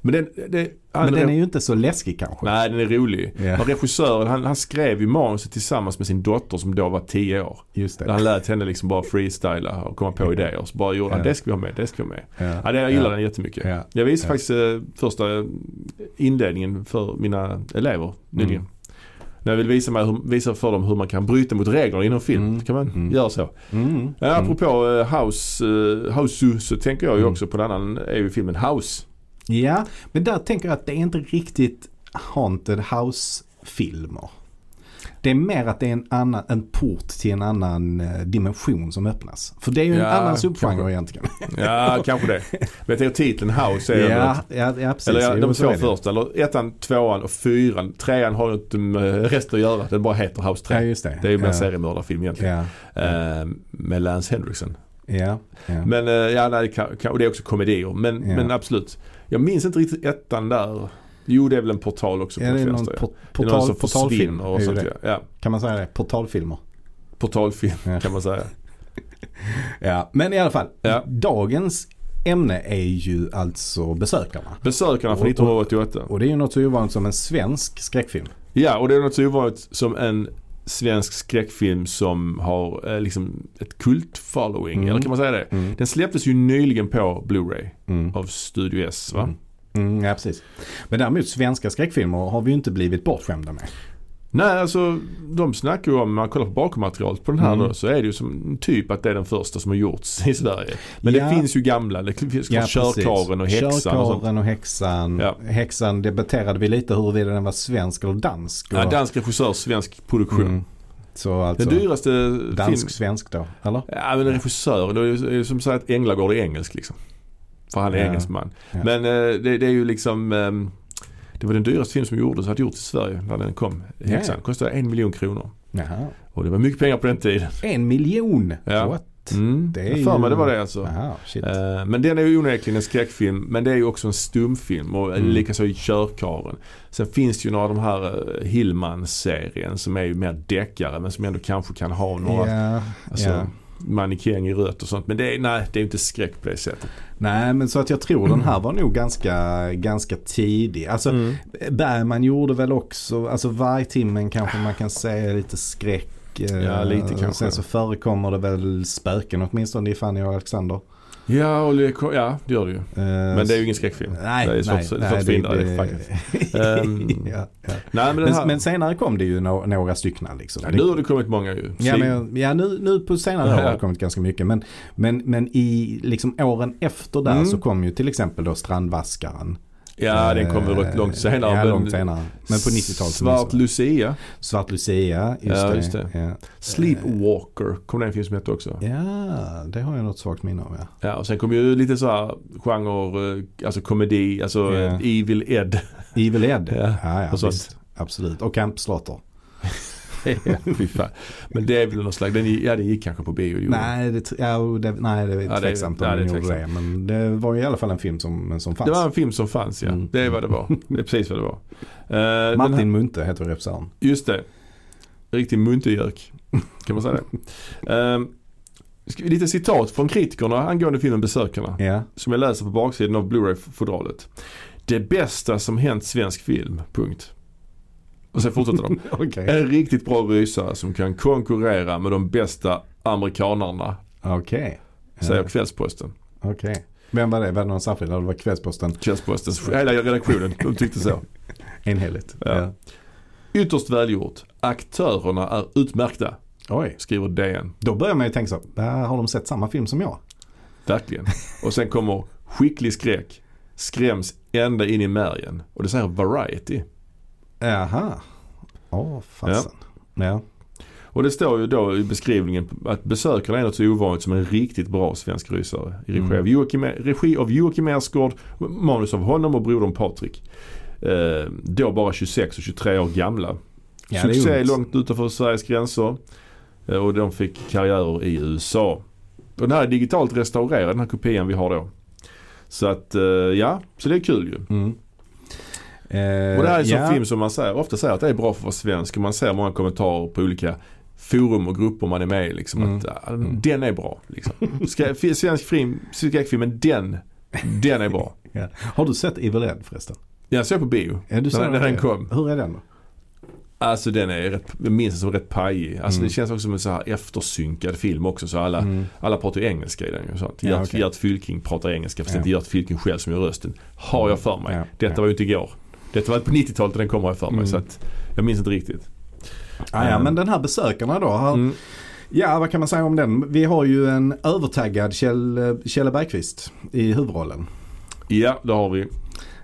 A: Men den, det, han,
B: Men den är ju inte så läskig kanske.
A: Nej, den är rolig.
B: Ja.
A: Och regissören han, han skrev ju manuset tillsammans med sin dotter som då var 10 år.
B: Just
A: Där
B: det.
A: han lät henne liksom bara freestyla och komma på idéer. Så bara gjorde han,
B: Ja.
A: det ska vi ha med, det ska vi ha med.
B: Ja.
A: Ja, det, jag gillar
B: Ja.
A: den jättemycket.
B: Ja.
A: Jag visade
B: Ja.
A: faktiskt eh, första inledningen för mina elever nyligen.
B: Mm.
A: När jag vill visa, mig, hur- visa för dem hur man kan bryta mot reglerna inom film.
B: Mm.
A: Då kan man
B: Mm.
A: göra så.
B: Mm. Mm.
A: Ja, apropå eh, House, eh, House så tänker jag ju också på den annan, är ju filmen House.
B: Ja, men där tänker jag att det är inte riktigt Haunted House-filmer. Det är mer att det är en, annan, en port till en annan eh, dimension som öppnas. För det är ju en
A: Ja,
B: annan subgenre
A: kanske.
B: egentligen.
A: Ja, kanske det. Men jag tänker titeln House är väl
B: ja,
A: något-
B: ja, ja, precis.
A: eller ja,
B: Jo,
A: de
B: så
A: två
B: är det.
A: första, eller ettan, tvåan och fyran. Trean har ju inte med resten att göra, den bara heter House 3.
B: Ja, just det.
A: det är ju mer
B: ja.
A: en seriemördarfilm egentligen.
B: Ja,
A: Eh, med Lance Henriksen.
B: ja, ja.
A: Men eh, ja, nej, det kan, kan, och det är också komedier. Men,
B: Ja.
A: men absolut. Jag minns inte riktigt ettan där. Jo, det är väl en portal också.
B: är
A: på
B: det
A: de
B: någon
A: flesta, ja.
B: por-
A: Det är någon
B: portal,
A: som
B: portalfilm?
A: försvinner
B: Är
A: och
B: ju
A: sånt.
B: det.
A: Ja. Ja,
B: Kan man säga det? Portalfilmer.
A: portalfilm
B: Ja.
A: kan man säga.
B: Ja, men i alla fall.
A: Ja.
B: Dagens ämne är ju alltså besökarna.
A: Besökarna från
B: Och-
A: 1988.
B: Och det är ju något så ovanligt som en svensk skräckfilm.
A: Ja, och det är något så ovanligt som en svensk skräckfilm som har eh, liksom ett kult-following.
B: Mm.
A: Eller kan man säga det?
B: Mm.
A: Den släpptes ju nyligen på Blu-ray
B: Mm.
A: av Studio S va?
B: Mm. Mm, ja, precis. Men däremot svenska skräckfilmer har vi ju inte blivit bortskämda med.
A: Nej, alltså de snackar ju om, när man kollar på bakmaterialet på den här
B: Mm.
A: då, så är det ju som typ att det är den första som har gjorts i Sverige. Men
B: Ja.
A: det finns ju gamla, det finns
B: Ja, precis.
A: körkaren och häxan och sånt.
B: Körkaren och häxan.
A: Ja.
B: Häxan debatterade vi lite huruvida den var svensk eller dansk.
A: Ja,
B: Och-
A: dansk regissör, svensk produktion.
B: Mm. Så alltså,
A: Den dyraste film...
B: dansk-svensk då, eller?
A: Ja men regissör, det är ju- det är ju som sagt Änglagård är engelsk liksom. För han är
B: Ja.
A: engelsman.
B: Ja.
A: Men eh, det, det är ju liksom ehm, det var den dyraste film som gjordes, hade gjorts i Sverige när den kom. Häxan
B: Ja.
A: kostade en miljon kronor.
B: Jaha.
A: Och det var mycket pengar på den tiden.
B: En miljon!
A: Ja.
B: What?
A: Mm.
B: Det är
A: jag för mig
B: ju-
A: det var det alltså.
B: Jaha, shit.
A: Eh, Men den är ju onekligen en skräckfilm men det är ju också en stumfilm och eh,
B: Mm.
A: likaså i Körkaren. Sen finns det ju några av de här eh, Hillman-serien som är ju mer deckare men som ändå kanske kan ha några
B: Ja,
A: alltså,
B: ja.
A: mannekäng i rött och sånt. Men det är, nej, det är ju inte skräck på det sättet.
B: Nej men så att jag tror den här var nog ganska, ganska tidig. Alltså Bergman gjorde väl också, alltså vargtimmen kanske man kan säga är lite skräck. eh,
A: Ja, lite kanske.
B: Sen så förekommer det väl spöken åtminstone i Fanny och Alexander. Eh,
A: Ja, och det, ja, det gör det ju. Men det är ju ingen skräckfilm.
B: Nej,
A: det är svårt-
B: nej,
A: det är svårt
B: nej,
A: att förhindra
B: det-
A: det
B: det-
A: Ehm,
B: ja, ja.
A: Nej, men den här...
B: Men, men senare kom det ju no- några stycken liksom.
A: ja, nu har det kommit många ju.
B: Ja,
A: Slim-
B: men, ja nu, nu på senare år har det kommit ganska mycket. Men, men, men i liksom åren efter där
A: Mm.
B: så kom ju till exempel då Strandvaskaren.
A: ja den kom
B: Eh,
A: väl rätt långt senare.
B: Ja,
A: men-
B: långt senare. Men på 90-talet. så minns
A: Svart
B: jag.
A: Lucia.
B: Svart Lucia, just
A: Ja,
B: det.
A: just det.
B: Ja.
A: Sleepwalker kom det en film som hette också.
B: ja, det har jag något svagt minne av ja.
A: Ja, och sen kom ju lite så här genre, eh, alltså komedi, alltså
B: Ja.
A: eh, Evil Ed.
B: Evil Ed.
A: Ja,
B: ja,
A: och sånt.
B: visst. Absolut. Och Camp Slater.
A: Fy fan. Men det är väl någon slags, den, gick- ja den gick kanske på bio. det gjorde den.
B: Nej, det, tr- ja, och det, nej, det är
A: Ja, det är-
B: tveksamt om
A: ja, det är
B: de gjorde det. Men det var ju i alla fall en film som, som fanns.
A: Det var en film som fanns ja.
B: Mm.
A: Det är vad det var. Det är precis vad det var. Eh, den
B: Martin Munthe heter regissören.
A: Just det. Riktig muntergök. Kan man säga det. Ehm, ska vi- lite citat från kritikerna angående filmen Besökarna.
B: Ja.
A: Som jag läser på baksidan av Blu-ray-fodralet. Det bästa som hänt svensk film. Punkt. Och sen fortsätter de.
B: Okej.
A: En riktigt bra rysare som kan konkurrera med de bästa amerikanarna.
B: Okej.
A: Säger Kvällsposten.
B: Okej. Vem var det? Var det någon särskild? Eller var det Kvällsposten
A: Kvällspostens hela redaktionen de tyckte så.
B: enhälligt?
A: Ja. Ytterst välgjort. Aktörerna är utmärkta.
B: Oj.
A: Skriver DN.
B: Då börjar man ju tänka så. Där har de sett samma film som jag?
A: Verkligen. Och sen kommer skicklig skräck. Skräms ända in i märgen. Och det säger Variety.
B: Jaha. Åh, fasen. Ja.
A: Och det står ju då i beskrivningen att besökarna är något så ovanligt som en riktigt bra svensk rysare. I regi,
B: Mm.
A: av, Joakim, regi av Joakim Ersgård, manus av honom och brodern Patrik. Eh, då bara 26 och 23 år gamla.
B: Ja, det är
A: Succé
B: ungt.
A: långt utanför Sveriges gränser. Eh, och de fick karriärer i USA. Och den här är digitalt restaurerad, den här kopian vi har då. Så att, eh, ja, så det är kul ju.
B: Mm. Eh,
A: Och det här är en sån
B: ja.
A: film som man säger, ofta säger att det är bra för att vara svensk. Och man ser många kommentarer på olika forum och grupper man är med i. Liksom,
B: Mm.
A: att, ah, Den är bra. Liksom. Skrä- fi- svensk film, skräckfilmen, den, den är bra.
B: Ja. Har du sett Evil Ed förresten?
A: Jag såg på bio.
B: Ja, du
A: När-
B: såg
A: när den
B: det.
A: kom.
B: Hur är den då?
A: Alltså den är rätt, jag minns den som rätt pajig. Alltså
B: Mm.
A: det känns också som en så här eftersynkad film också. Så alla,
B: Mm.
A: alla pratar ju engelska i den. Och sånt.
B: Ja,
A: Gert,
B: okej.
A: Gert Fylking pratar engelska fast det
B: Ja. Mm.
A: är inte Gert Fylking själv som gör rösten. Har jag för mig.
B: Ja,
A: Detta
B: ja.
A: var ju inte igår. Detta var på 90-talet och den kommer jag för mig.
B: Mm.
A: Så att jag minns inte riktigt.
B: Ah, ja,
A: Eh.
B: men den här besökarna då. Har,
A: Mm.
B: Ja, vad kan man säga om den? Vi har ju en övertaggad Kjell, Kjelle Bergqvist i huvudrollen.
A: Ja, det har vi.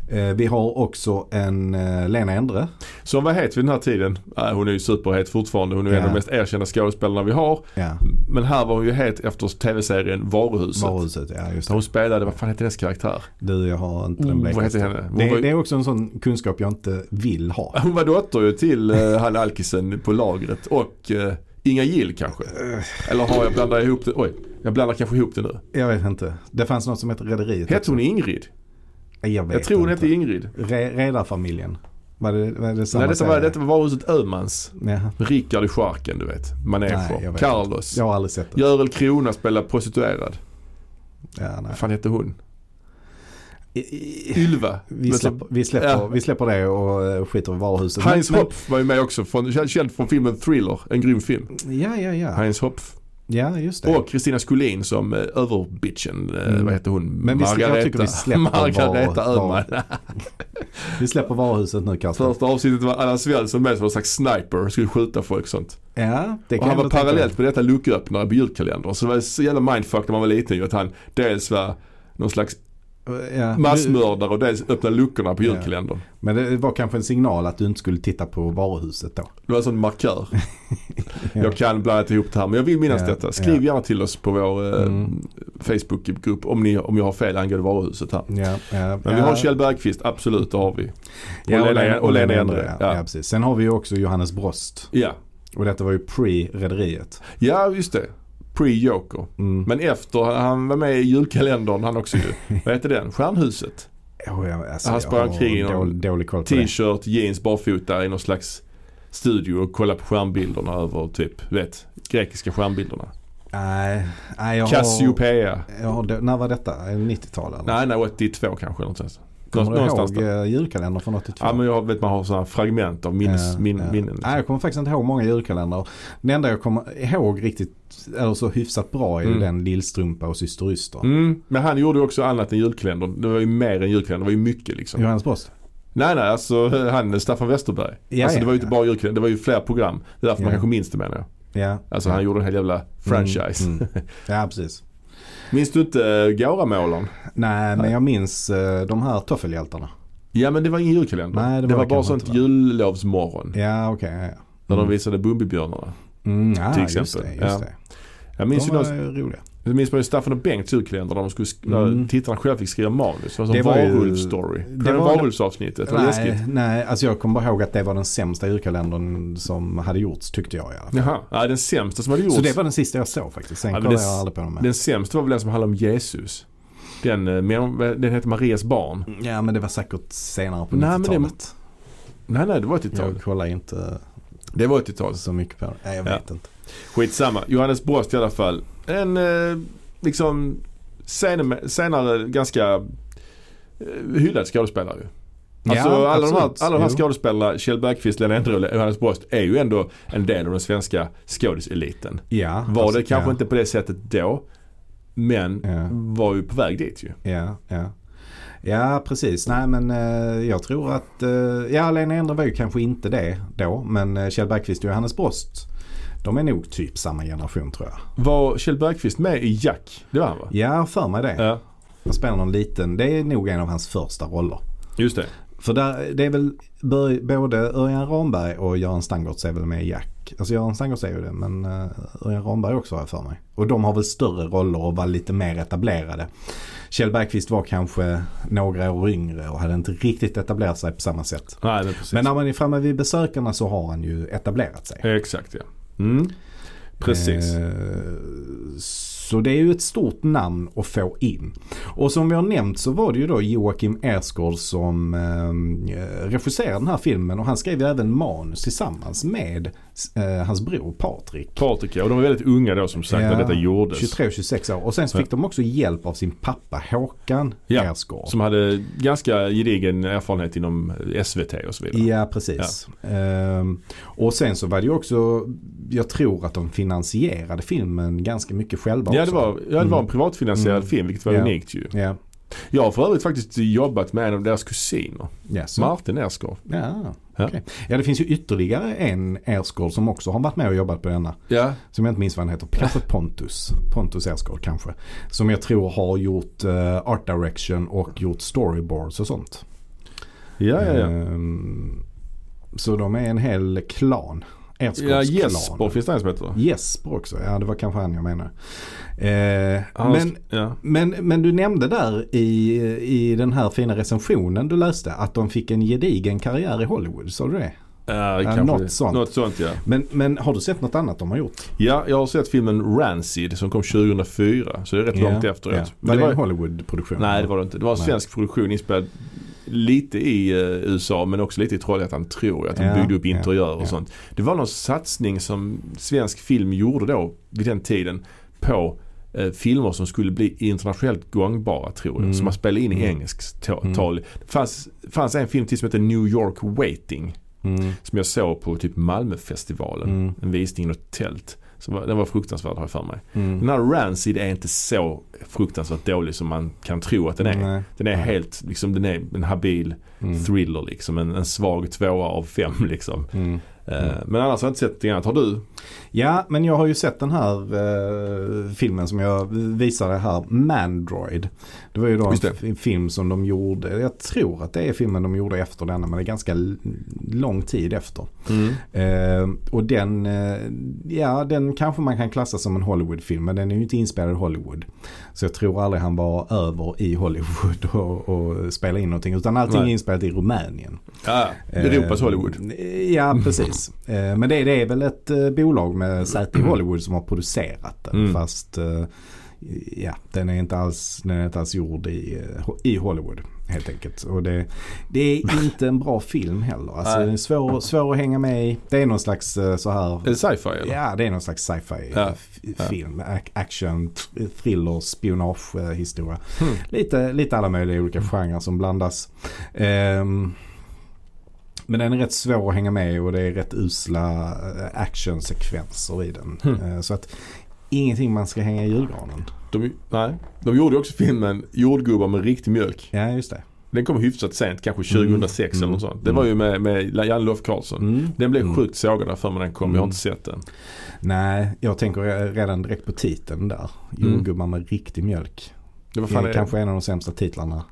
B: Eh, vi har också en eh, Lena Endre.
A: Som var het vid den här tiden. Äh, hon är ju superhet fortfarande. Hon är en av
B: Ja.
A: de mest erkända skådespelarna vi har.
B: Ja,
A: Men här var hon ju het efter tv-serien Varuhuset.
B: varuhuset. Ja, just
A: Där
B: det.
A: hon spelade, vad fan hette hennes karaktär?
B: Du, jag har inte den
A: Oh, vad
B: blekaste.
A: hette henne? Hon,
B: Det,
A: var,
B: det
A: ju-
B: är också en sån kunskap jag inte vill ha.
A: hon var dotter ju till eh, han alkisen på lagret och eh, Inga Gill kanske. Eller har jag blandat ihop det? Oj, jag blandar kanske ihop det nu.
B: Eh. Jag vet inte. Det fanns något som hette Rederiet.
A: Hette hon Ingrid?
B: Jag, vet
A: Jag tror hon
B: inte.
A: hette Ingrid.
B: Re, redarfamiljen. Var det, var det samma
A: Nej, detta var,
B: serie?
A: detta var Varuhuset Öhmans.
B: Jaha.
A: Rickard i Scharken, du vet.
B: Nej, jag
A: Maneger.
B: vet
A: Carlos.
B: Jag har aldrig sett det.
A: Görel Krona spelar prostituerad.
B: Ja, nej.
A: Vad fan hette hon?
B: I- i-
A: Ylva.
B: Vi
A: Men
B: släpper, vi, släpper,
A: Ja.
B: vi släpper det och eh, skiter i varuhuset.
A: Heinz
B: Men-
A: Hopf var ju med också, från, känd från filmen Thriller, en grym film.
B: men- Ja, ja, ja.
A: Heinz Hopf.
B: Ja, just det.
A: Och Kristina Skolin som eh, överbitchen, eh,
B: Mm.
A: vad heter hon?
B: Men vi- jag tycker vi släpper
A: Margareta
B: var- var-
A: Öhman.
B: Vi släpper varuhuset nu Karsten.
A: Första avsnittet var Allan Svensson med som en slags sniper, skulle skjuta folk och sånt.
B: Ja, det
A: Och han
B: kan jag
A: var
B: ändå tänka
A: parallellt med detta lucköppnare på julkalendern. Så det var så jävla mindfuck när man var liten ju att han dels var någon slags
B: mig. Ja, du-
A: massmördare och dels öppnade luckorna på
B: Ja.
A: julkalendern.
B: Men det var kanske en signal att du inte skulle titta på varuhuset då.
A: Det var en sån markör.
B: Ja.
A: Jag kan blandat ihop det här men jag vill minnas
B: Ja,
A: detta. Skriv
B: ja.
A: gärna till oss på vår eh,
B: Mm.
A: Facebookgrupp om, ni, om jag har fel angående varuhuset här.
B: Ja, ja,
A: Men vi
B: ja.
A: har Kjell Bergqvist, absolut det har vi.
B: Ja,
A: och Lena- och Lena Endre,
B: Ja.
A: ja.
B: Ja, precis. Sen har vi ju också Johannes Brost.
A: Ja,
B: Och detta var ju pre-rederiet.
A: ja just det. Pre-Joker.
B: Mm.
A: Men efter, han- han var med i julkalendern han också ju. Vad heter den? Stjärnhuset.
B: Oh, ja, alltså,
A: Han
B: jag
A: sprang
B: har
A: omkring i någon
B: dålig, dålig koll på det.
A: T-shirt, jeans, barfota i någon slags studio och kolla på stjärnbilderna över typ, du vet, grekiska stjärnbilderna.
B: Nej, nej jag har...
A: Cassiopeia.
B: Jag har dö- när var detta? 90-tal eller?
A: Nej, nej, 82 kanske någonstans.
B: kommer du
A: någonstans
B: ihåg
A: där.
B: eh, julkalendern från 82?
A: Ja men jag vet man har sådana fragment av minnes,
B: Ja,
A: min,
B: ja.
A: minnen. liksom.
B: Nej, jag kommer faktiskt inte ihåg många julkalendrar. Det enda jag kommer ihåg riktigt, eller så hyfsat bra, är ju
A: Mm.
B: den Lillstrumpa och Syster Yster.
A: Mm, men han gjorde ju också annat än julkalendern. Det var ju mer än julkalendern, det var ju mycket liksom.
B: Johannes Brost?
A: Nej nej, alltså han Staffan Westerberg.
B: Ja,
A: alltså
B: ja,
A: det var ju
B: ja.
A: inte bara julkalendern, det var ju fler program. Det är därför
B: Ja.
A: man kanske minns det menar jag.
B: Ja.
A: Alltså han gjorde en hel jävla franchise.
B: Mm, mm. Ja, precis.
A: Minns du inte äh, Gauramålaren?
B: Nej, men jag minns eh, de här toffelhjältarna.
A: Ja men det var ingen julkalender.
B: Nej, det
A: det,
B: var
A: var
B: det
A: bara
B: kanske
A: sånt
B: inte, va?
A: jullovsmorgon.
B: Ja, okej. ja, ja.
A: När de
B: Mm.
A: visade Bumbibjörnarna.
B: Mm, ja,
A: Till
B: just
A: exempel.
B: det.
A: Ja.
B: Just det.
A: Jag minns,
B: de
A: ju
B: var
A: någon,
B: roliga.
A: jag minns man ju Staffan och Bengts julkalender när, de skulle, sk- när
B: Mm.
A: tittarna själva fick skriva manus. Det var
B: Det
A: som
B: var ju-
A: varulvsstory.
B: det
A: Det var
B: var väl-
A: varulvsavsnittet. Det var läskigt.
B: Nej, nej, alltså jag kommer bara ihåg att det var den sämsta julkalendern som hade gjorts tyckte jag i alla fall.
A: Jaha, nej, den sämsta som hade gjorts.
B: Så det var den sista jag såg faktiskt. Sen
A: Ja, men
B: kollade
A: det-
B: jag aldrig på dem mer.
A: Den sämsta var väl den som handlade om Jesus. Den, eh, men- den hette Marias barn.
B: Ja men det var säkert senare på
A: Nej, men det-
B: 90-talet.
A: Nej, nej, det var 80-tal.
B: Jag kollar inte
A: Det var 80-tal.
B: så mycket på det. Nej jag
A: Ja.
B: vet inte.
A: Skitsamma. Johannes Brost i alla fall. En eh, liksom sen, senare ganska eh, hyllad skådespelare ju. Alltså
B: Ja,
A: alla, de här,
B: absolut.
A: alla de här
B: Jo.
A: skådespelarna, Kjell Bergqvist, Lena Endre och Johannes Brost är ju ändå en del av den svenska skådiseliten.
B: Ja.
A: Var
B: alltså,
A: det kanske
B: ja,
A: inte på det sättet då, men
B: Ja.
A: var ju på väg dit ju.
B: Ja, ja. Ja precis. Nej men eh, jag tror att, eh, ja Lena Endre var ju kanske inte det då. Men eh, Kjell Bergqvist och Johannes Brost. De är nog typ samma generation tror jag.
A: Var Kjell Bergqvist med i Jack? Det var han va?
B: Ja för mig det.
A: Ja,
B: Han spelar någon liten, det är nog en av hans första roller.
A: just det.
B: För där, det är väl bör- både Örjan Ramberg och Göran Stangertz är väl med i Jack. Alltså Göran Stangertz är ju det men eh, Örjan Ramberg också har jag för mig. Och de har väl större roller och var lite mer etablerade. Kjell Bergqvist var kanske några år yngre och hade inte riktigt etablerat sig på samma sätt.
A: Nej, men precis.
B: Men när man är framme vid besökarna så har han ju etablerat sig.
A: Exakt ja. Mm. Precis.
B: Eh, Så det är ju ett stort namn att få in. Och som vi har nämnt så var det ju då Joakim Ersgård som eh, regisserade den här filmen och han skrev ju även manus tillsammans med eh, hans bror Patrik.
A: Patrik ja, och de var väldigt unga då som sagt när
B: Ja,
A: detta gjordes.
B: 23-26 år. Och sen så fick de också hjälp av sin pappa Håkan
A: Ja,
B: Ersgård.
A: Som hade ganska gedigen erfarenhet inom eh, SVT och så vidare.
B: Ja, precis. Ehm, och sen så var det ju också, jag tror att de finansierade filmen ganska mycket själva
A: Ja det
B: också.
A: var, ja, det var en privatfinansierad
B: Mm.
A: film vilket var
B: Ja.
A: unikt ju.
B: Ja,
A: Jag har för övrigt faktiskt jobbat med en av deras kusiner.
B: ja så
A: Martin Ersgård.
B: Ja,
A: Ja.
B: ja. ja, det finns ju ytterligare en Ersgård som också har varit med och jobbat på denna.
A: Ja.
B: Som jag inte minns vad han heter. Kanske Pontus. Pontus Ersgård kanske. Som jag tror har gjort eh, art direction och gjort storyboards och sånt.
A: Ja, ja, ja.
B: Ehm, så de är en hel klan.
A: ja
B: Ersgårds
A: Jesper
B: klan.
A: finns det en som heter. va?
B: Jesper också. Ja, det var kanske han jag menar. Eh,
A: Han har
B: men,
A: sk- ja.
B: men, men du nämnde där i, i den här fina recensionen du läste att de fick en gedigen karriär i Hollywood. Sa du det?
A: Ja, kanske
B: något
A: det.
B: sånt.
A: Något sånt ja.
B: Men, men har du sett något annat de har gjort?
A: Ja, jag har sett filmen Rancid som kom 2004. Så det är rätt långt efteråt.
B: Ja.
A: Men
B: Var det
A: var-
B: en Hollywood-produktion?
A: Nej det var det inte. Det var en
B: Nej.
A: svensk produktion inspelad lite i eh, USA men också lite i Trollhättan tror jag. Att de
B: Ja,
A: byggde upp
B: ja,
A: interiörer och
B: ja.
A: sånt. Det var någon satsning som svensk film gjorde då vid den tiden på eh, filmer som skulle bli internationellt gångbara tror jag.
B: Mm.
A: Som man spelade in i
B: Mm.
A: engelskt ta-
B: Mm.
A: tal. Det fanns, fanns en film till som hette New York Waiting.
B: Mm.
A: Som jag såg på typ Malmöfestivalen.
B: Mm.
A: En visning i något tält. Så var- den var fruktansvärd har jag för mig. Den
B: Mm.
A: här Rancid är inte så fruktansvärt dålig som man kan tro att den är.
B: Nej.
A: Den är
B: Nej.
A: helt, liksom den är en habil
B: Mm.
A: thriller liksom. En, en svag tvåa av fem liksom.
B: Mm.
A: Eh, Men annars har jag inte sett något annat. Har du?
B: Ja, men jag har ju sett den här eh, filmen som jag visade här, Mandroid. Det var ju då en
A: Just det.
B: f- film som de gjorde, jag tror att det är filmen de gjorde efter denna, men det är ganska l- lång tid efter.
A: Mm.
B: Eh, och den, eh, ja den kanske man kan klassa som en Hollywoodfilm, men den är ju inte inspelad i Hollywood. Så jag tror aldrig han var över i Hollywood och, och spelade in någonting, utan allting
A: Nej.
B: är inspelat i Rumänien.
A: Ja, Europas
B: Eh,
A: Hollywood.
B: Ja, precis. Eh, Men det, det är väl ett eh, bolag med säte i Hollywood som har producerat den.
A: Mm.
B: Fast eh, ja, den är inte alls, den är inte alls gjord i, eh, Ho- i Hollywood. Helt enkelt. Och det, det är inte en bra film heller. Alltså,
A: Nej.
B: den är svår, svår att hänga med i. Det är någon slags eh, så här...
A: Är det sci-fi eller?
B: Ja, det är någon slags sci-fi eh,
A: Ja.
B: f- film. ac- Action, thr- thriller, spionage, eh, historia.
A: Mm.
B: Lite, lite alla möjliga olika genrer som blandas. Ehm, men den är rätt svår att hänga med i och det är rätt usla eh, actionsekvenser i den.
A: Mm.
B: Eh, så att ingenting man ska hänga i julgranen.
A: De, nej. De gjorde ju också filmen Jordgubbar med riktig mjölk.
B: Ja, just det.
A: Den kom hyfsat sent, kanske 2006
B: Mm.
A: eller något sånt. Det var ju med, med Janne Lof Karlsson.
B: Mm.
A: Den blev
B: Mm.
A: sjukt sågad där för mig när den kom. Jag har inte sett den.
B: Nej, jag tänker re- redan direkt på titeln där.
A: Mm.
B: Jordgubbar med riktig mjölk.
A: Det var
B: Det
A: fan
B: är
A: är
B: kanske en av de sämsta titlarna.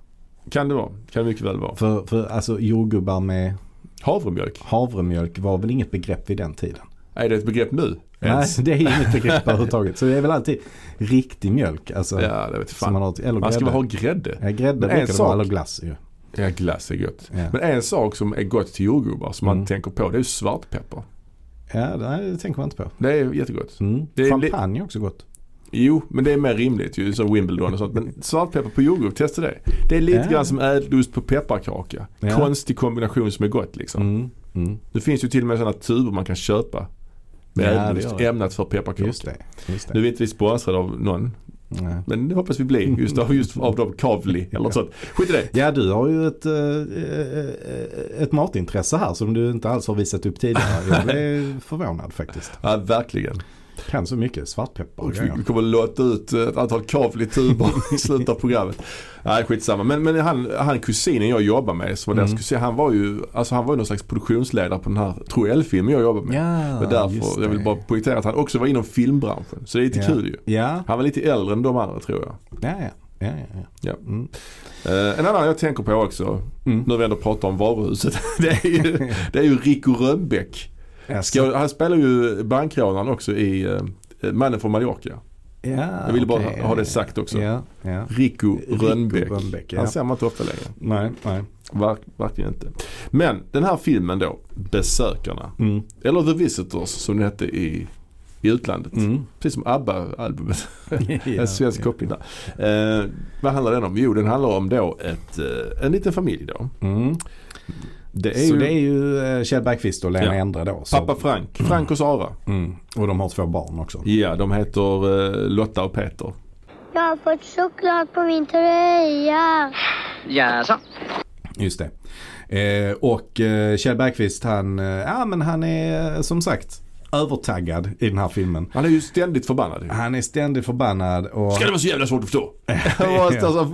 A: Kan det vara. Kan det mycket väl vara.
B: För, för alltså jordgubbar med
A: Havremjölk?
B: havremjölk var väl inget begrepp vid den tiden?
A: Är det ett begrepp nu?
B: Nej,
A: Ens?
B: det är inget begrepp överhuvudtaget. Så det är väl alltid riktig mjölk. Alltså,
A: Ja, det vet
B: som
A: fan.
B: man
A: Man,
B: har, eller grädde.
A: ska väl ha grädde?
B: Ja, grädde
A: Men en
B: brukar det
A: sak-
B: vara, eller glass ju.
A: Ja, glass är gott.
B: Ja.
A: Men en sak som är gott till jordgubbar som man
B: Mm.
A: inte tänker på det är ju svartpeppar.
B: Ja, det, nej, det tänker man inte på.
A: Det är jättegott.
B: Mm.
A: Det är
B: Champagne är också gott.
A: Jo, men det är mer rimligt ju som Wimbledon och sånt. Men svartpeppar på jordgubb, testa det. Det är lite
B: Ja.
A: grann som ädelost på pepparkaka.
B: Ja.
A: Konstig kombination som är gott liksom.
B: Mm. Mm.
A: Det finns ju till och med sådana tuber man kan köpa med
B: Ja, det gör
A: ädelost
B: det.
A: ämnat för pepparkaka.
B: Just det. Just
A: Nu
B: det.
A: är inte vi sponsrade av någon,
B: Ja.
A: men det hoppas vi blir. Just av, just av dem, Kavli eller något sånt. Skit i det.
B: ja, du har ju ett, eh, eh, ett matintresse här som du inte alls har visat upp tidigare. Jag blev förvånad faktiskt.
A: Ja, verkligen.
B: Kan så mycket svartpeppar och
A: Och vi
B: grejer.
A: vi kommer att låta ut eh, ett antal Kavli-tuber i slutet av programmet. Nej, skitsamma. Men, men han, han kusinen jag jobbar med, som var deras
B: Mm.
A: kusin, han var ju alltså, han var ju någon slags produktionsledare på den här Troell-filmen jag jobbar med.
B: Ja,
A: Det är
B: just
A: därför jag vill
B: det.
A: bara poängtera att han också var inom filmbranschen. Så det är lite
B: Ja.
A: kul ju.
B: Ja,
A: Han var lite äldre än de andra tror jag.
B: ja, ja. ja, ja, ja.
A: Ja.
B: Mm.
A: Eh, en annan jag tänker på också,
B: Mm.
A: nu när vi ändå pratar om varuhuset, det är ju, det är ju Rico Rönnbäck.
B: Alltså,
A: Ska, han spelar ju bankrånaren också i eh, Mannen från Mallorca.
B: ja,
A: Jag ville bara
B: Ah, okej.
A: ha det sagt också.
B: Ja, ja.
A: Rico
B: Rico
A: Rönnbäck.
B: Rönnbäck, ja. Alltså,
A: Han ser man inte ofta längre.
B: Nej, nej.
A: Verk, verkligen inte. Men den här filmen då, Besökarna.
B: Mm.
A: Eller The Visitors som den hette i, i utlandet.
B: Mm.
A: Precis som ABBA-albumet.
B: ja,
A: En svensk
B: ja.
A: koppling där. Eh, vad handlar den om? Jo, den handlar om då ett, eh, en liten familj då.
B: Mm.
A: Det
B: så det är ju eh, Kjell Bergqvist och Lena
A: Ja.
B: Endre då. Så.
A: pappa Frank, Frank och Sara.
B: Mm. Och de har två barn också.
A: Ja, de heter eh, Lotta och Peter.
C: Jag har fått choklad på min tröja.
D: Jaså?
B: Just det. Eh, och eh, Kjell Bergqvist han, eh, ja, men han är eh, som sagt övertaggad i den här filmen.
A: Han är ju ständigt förbannad. ju.
B: Han är ständigt förbannad och,
A: Ska det vara så jävla svårt att förstå? Han var alltså,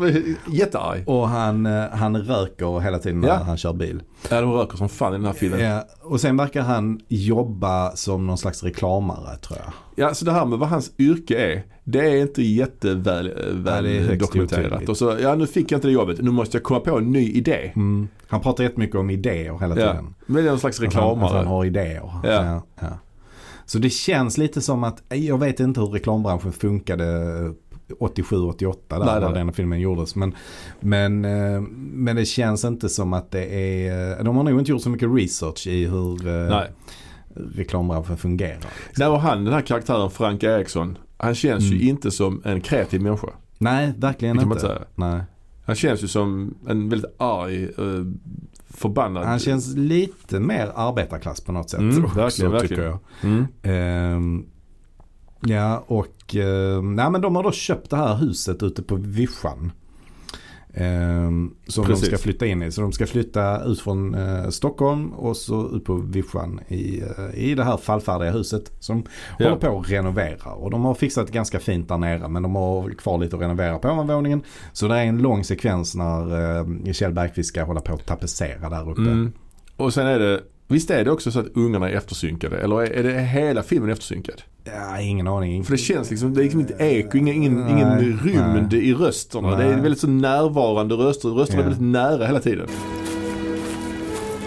A: jättearg.
B: och han, eh, han röker hela tiden när
A: Ja.
B: han kör bil.
A: Ja, de röker som fan i den här filmen.
B: Eh, och sen verkar han jobba som någon slags reklamare tror jag.
A: Ja, så det här med vad hans yrke är, det är inte jätteväl eh,
B: Ja,
A: väl
B: det är högst
A: dokumenterat.
B: otydligt.
A: Och så, ja nu fick jag inte det jobbet, nu måste jag komma på en ny idé.
B: Mm. Han pratar jättemycket om idéer hela
A: Ja.
B: tiden.
A: Men det är någon slags
B: Att han, att han
A: reklamare.
B: har idéer.
A: Ja.
B: Ja, ja. Så det känns lite som att, jag vet inte hur reklambranschen funkade 87-88 där
A: Nej, nej,
B: när
A: nej.
B: den filmen gjordes. Men, men, eh, men det känns inte som att det är, eh, de har nog inte gjort så mycket research i hur eh,
A: Nej.
B: reklambranschen fungerar.
A: Nej, och han, den här karaktären Frank Eriksson, han känns
B: Mm.
A: ju inte som en kreativ människa.
B: Nej, verkligen
A: Det kan man
B: inte.
A: inte säga.
B: Nej.
A: Han känns ju som en väldigt arg, eh, förbannad.
B: Han känns lite mer arbetarklass på något sätt.
A: Mm,
B: också,
A: verkligen, verkligen.
B: Tycker jag.
A: Mm.
B: Ehm, ja och eh, nej, men de har då köpt det här huset ute på vischan. ehm, som
A: Precis.
B: de ska flytta in i. Så de ska flytta ut från eh, Stockholm och så ut på vischan i, eh, i det här fallfärdiga huset som
A: Ja.
B: håller på att renovera. Och de har fixat ganska fint där nere men de har kvar lite att renovera på ovanvåningen. Så det är en lång sekvens när eh, Kjell Bergqvist ska hålla på att tapetsera där uppe.
A: Mm. Och sen är det, visst är det också så att ungarna är eftersynkade? Eller är, är det hela filmen eftersynkad?
B: Ja, ingen aning.
A: För det känns liksom, det är liksom inte eko, ingen, ingen, ingen
B: Nej,
A: rymd i rösterna. Det är
B: Nej.
A: väldigt så närvarande röster, rösterna är
B: Ja.
A: väldigt nära hela tiden.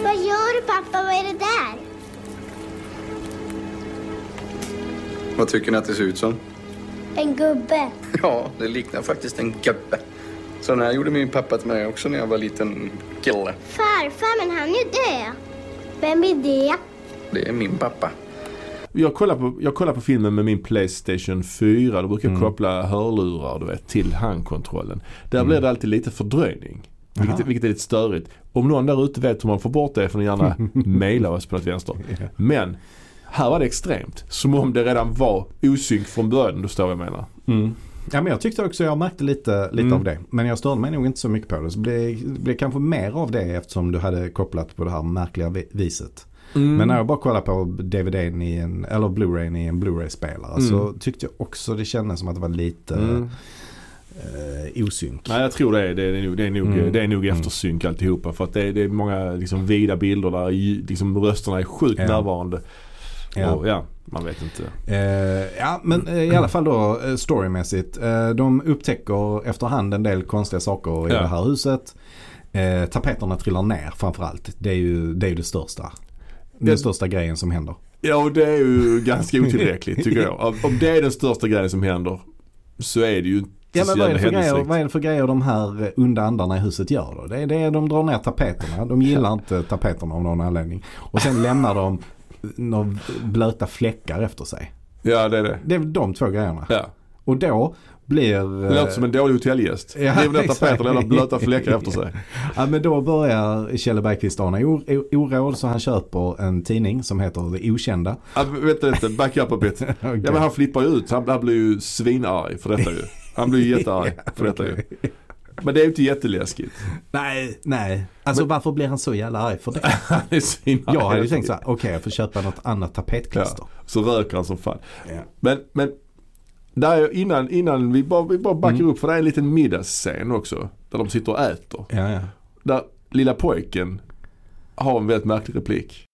C: Vad gör du pappa? Vad är det där?
D: Vad tycker ni att det ser ut som?
C: En gubbe.
D: Ja, det liknar faktiskt en gubbe. Sån här gjorde min pappa till mig också när jag var liten kille.
C: Farfar, men han är ju död. Vem är det?
D: Det är min pappa.
A: Jag kollar, på, jag kollar på filmen med min Playstation 4. Då brukar
B: Mm.
A: jag koppla hörlurar du vet, till handkontrollen. Där blir det alltid lite fördröjning. Vilket, vilket är lite störigt. Om någon där ute vet hur man får bort det får ni gärna mejla oss på något vänster. Men här var det extremt. Som om det redan var osynk från början. om Du förstår vad jag menar.
B: Ja, men jag tyckte också jag märkte lite, lite
A: Mm.
B: av det. Men jag störde mig nog inte så mycket på det. Så det blev, blev kanske mer av det eftersom du hade kopplat på det här märkliga vi- viset.
A: Mm.
B: Men när jag bara kollade på DVDn i en, eller Blu-rayn i en Blu-ray-spelare
A: Mm.
B: så tyckte jag också det kändes som att det var lite eh, osynk.
A: Nej jag tror det är, det är nog, det är nog,
B: Mm.
A: det är nog eftersynk alltihopa. För att det är, det är många liksom, vida bilder där ju- liksom, rösterna är sjukt
B: Ja.
A: närvarande.
B: Ja.
A: Och, ja, man vet inte.
B: Eh, ja, men eh, i alla fall då eh, storymässigt. Eh, de upptäcker efterhand en del konstiga saker i
A: Ja.
B: det här huset. Eh, tapeterna trillar ner framförallt. Det är ju det, är ju det största. Den
A: Det-
B: största grejen som händer.
A: Ja och det är ju ganska otillräckligt tycker jag. Om- Om det är den största grejen som händer så är det ju inte
B: Ja,
A: så
B: men vad är, det
A: jävla
B: för grejer,
A: händelserikt.
B: vad är det för grejer de här eh, onda andarna i huset gör då? Det är, det är de drar ner tapeterna. De gillar inte tapeterna av någon anledning. Och sen lämnar de några blöta fläckar efter sig.
A: Ja det är det.
B: Det är väl de två grejerna.
A: Ja.
B: Och då blir...
A: Det
B: eh,
A: låter som en dålig hotellgäst.
B: Ja,
A: Riv ner
B: exakt.
A: tapeten eller blöta fläckar efter sig.
B: Ja men då börjar Kjell Bergqvist ana o- o- oråd så han köper en tidning som heter Det Okända.
A: Ja, vänta lite, backa upp a bit. Ja men han flippar ju ut. Han, han blir ju svinarg för detta ju. Han blir ju jättearg för detta ju. Men det är ju inte jätteläskigt.
B: Nej, nej. Alltså varför blir han så jävla arg för det?
A: Han är svinarg.
B: Jag hade ju tänkt så här, okej jag får köpa något annat tapetklister.
A: Ja, så röker han som fan.
B: Ja.
A: Men, men där är, innan, innan vi bara, vi bara backar
B: Mm.
A: upp för det är en liten middagsscen också. Där de sitter och äter.
B: Ja, ja.
A: Där lilla pojken har en väldigt märklig replik.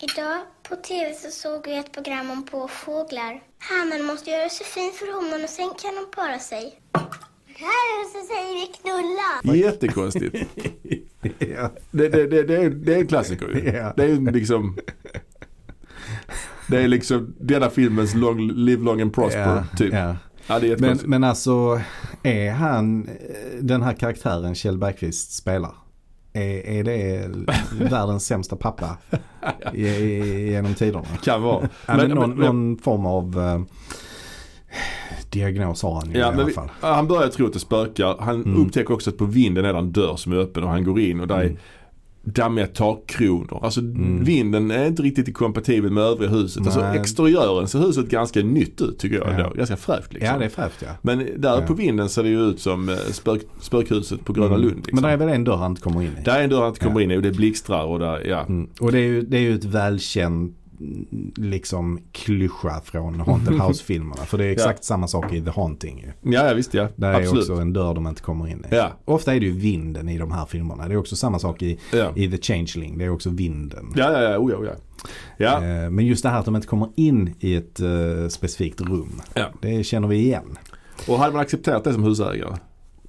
C: Idag på tv så såg jag ett program om påfåglar. Hannen måste göra sig fin för honom och sen kan de para sig. Här så säger vi knulla.
A: Jättekonstigt.
B: Ja.
A: Det, det, det, det, är, det är en klassiker ju.
B: Ja.
A: Det är ju liksom Det är liksom denna filmens long, Live Long and Prosper
B: Ja,
A: typ. Ja. det
B: ja.
A: är
B: Men,
A: jättekonstigt.
B: men alltså, är han eh, den här karaktären Kjell Bergqvist spelar? Är, är det världens sämsta pappa i, i, genom tiderna?
A: Kan vara.
B: Ja, men, någon,
A: men-
B: någon form av eh, diagnos har han ju
A: Ja,
B: i
A: men
B: alla
A: vi,
B: fall. Mm.
A: han börjar tro att det spökar. Han upptäcker också att på vinden är det en dörr som är öppen och han går in och där är dammiga takkronor. Alltså vinden är inte riktigt kompatibel med övriga huset. Alltså
B: Mm. Nej.
A: exteriören ser huset ganska nytt ut tycker jag.
B: Ja.
A: Då. Ganska fräscht liksom.
B: Ja det är fräscht ja.
A: Men där
B: Ja. Mm.
A: på vinden ser det ju ut som eh, spök, spökhuset på Gröna Lund. Liksom.
B: Men det är väl en dörr han inte kommer in i.
A: Där är en dörr han inte kommer in i och det blixtrar och där, ja.
B: Mm. Och det är ju, det är ju ett välkänt liksom klyscha från Haunted House-filmerna. För det är exakt samma sak i The Haunting ju.
A: Ja, ja visst ja.
B: Där är
A: Absolut.
B: också en dörr de inte kommer in i.
A: Ja.
B: Ofta är det ju vinden i de här filmerna. Det är också samma sak i,
A: Ja.
B: i The Changeling. Det är också vinden.
A: Ja, ja, ja. Oh, ja, oh, ja. Ja,
B: Eh, Men just det här att de inte kommer in i ett eh, specifikt rum.
A: ja.
B: Det känner vi igen.
A: Och hade man accepterat det som husägare?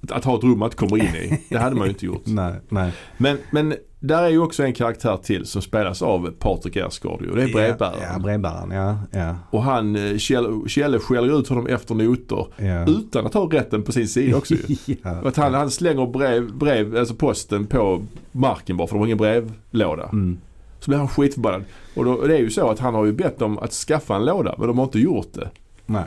A: Att- Att ha ett rum man inte kommer in i. Det hade man ju inte gjort.
B: Nej, nej.
A: Men, men där är ju också en karaktär till som spelas av Patrik Ersgård ju, och det är brevbäraren.
B: Ja, brevbäraren. Ja, ja.
A: Och han, eh, Kjell- Kjelle skäller ut honom efter noter
B: Ja.
A: utan att ha rätten på sin sida också ju.
B: Ja.
A: Att han, han slänger brev, brev, alltså posten på marken bara för de har ingen brevlåda.
B: Mm.
A: Så blir han skitförbannad. Och då, det är ju så att han har ju bett dem att skaffa en låda men de har inte gjort det.
B: Nej.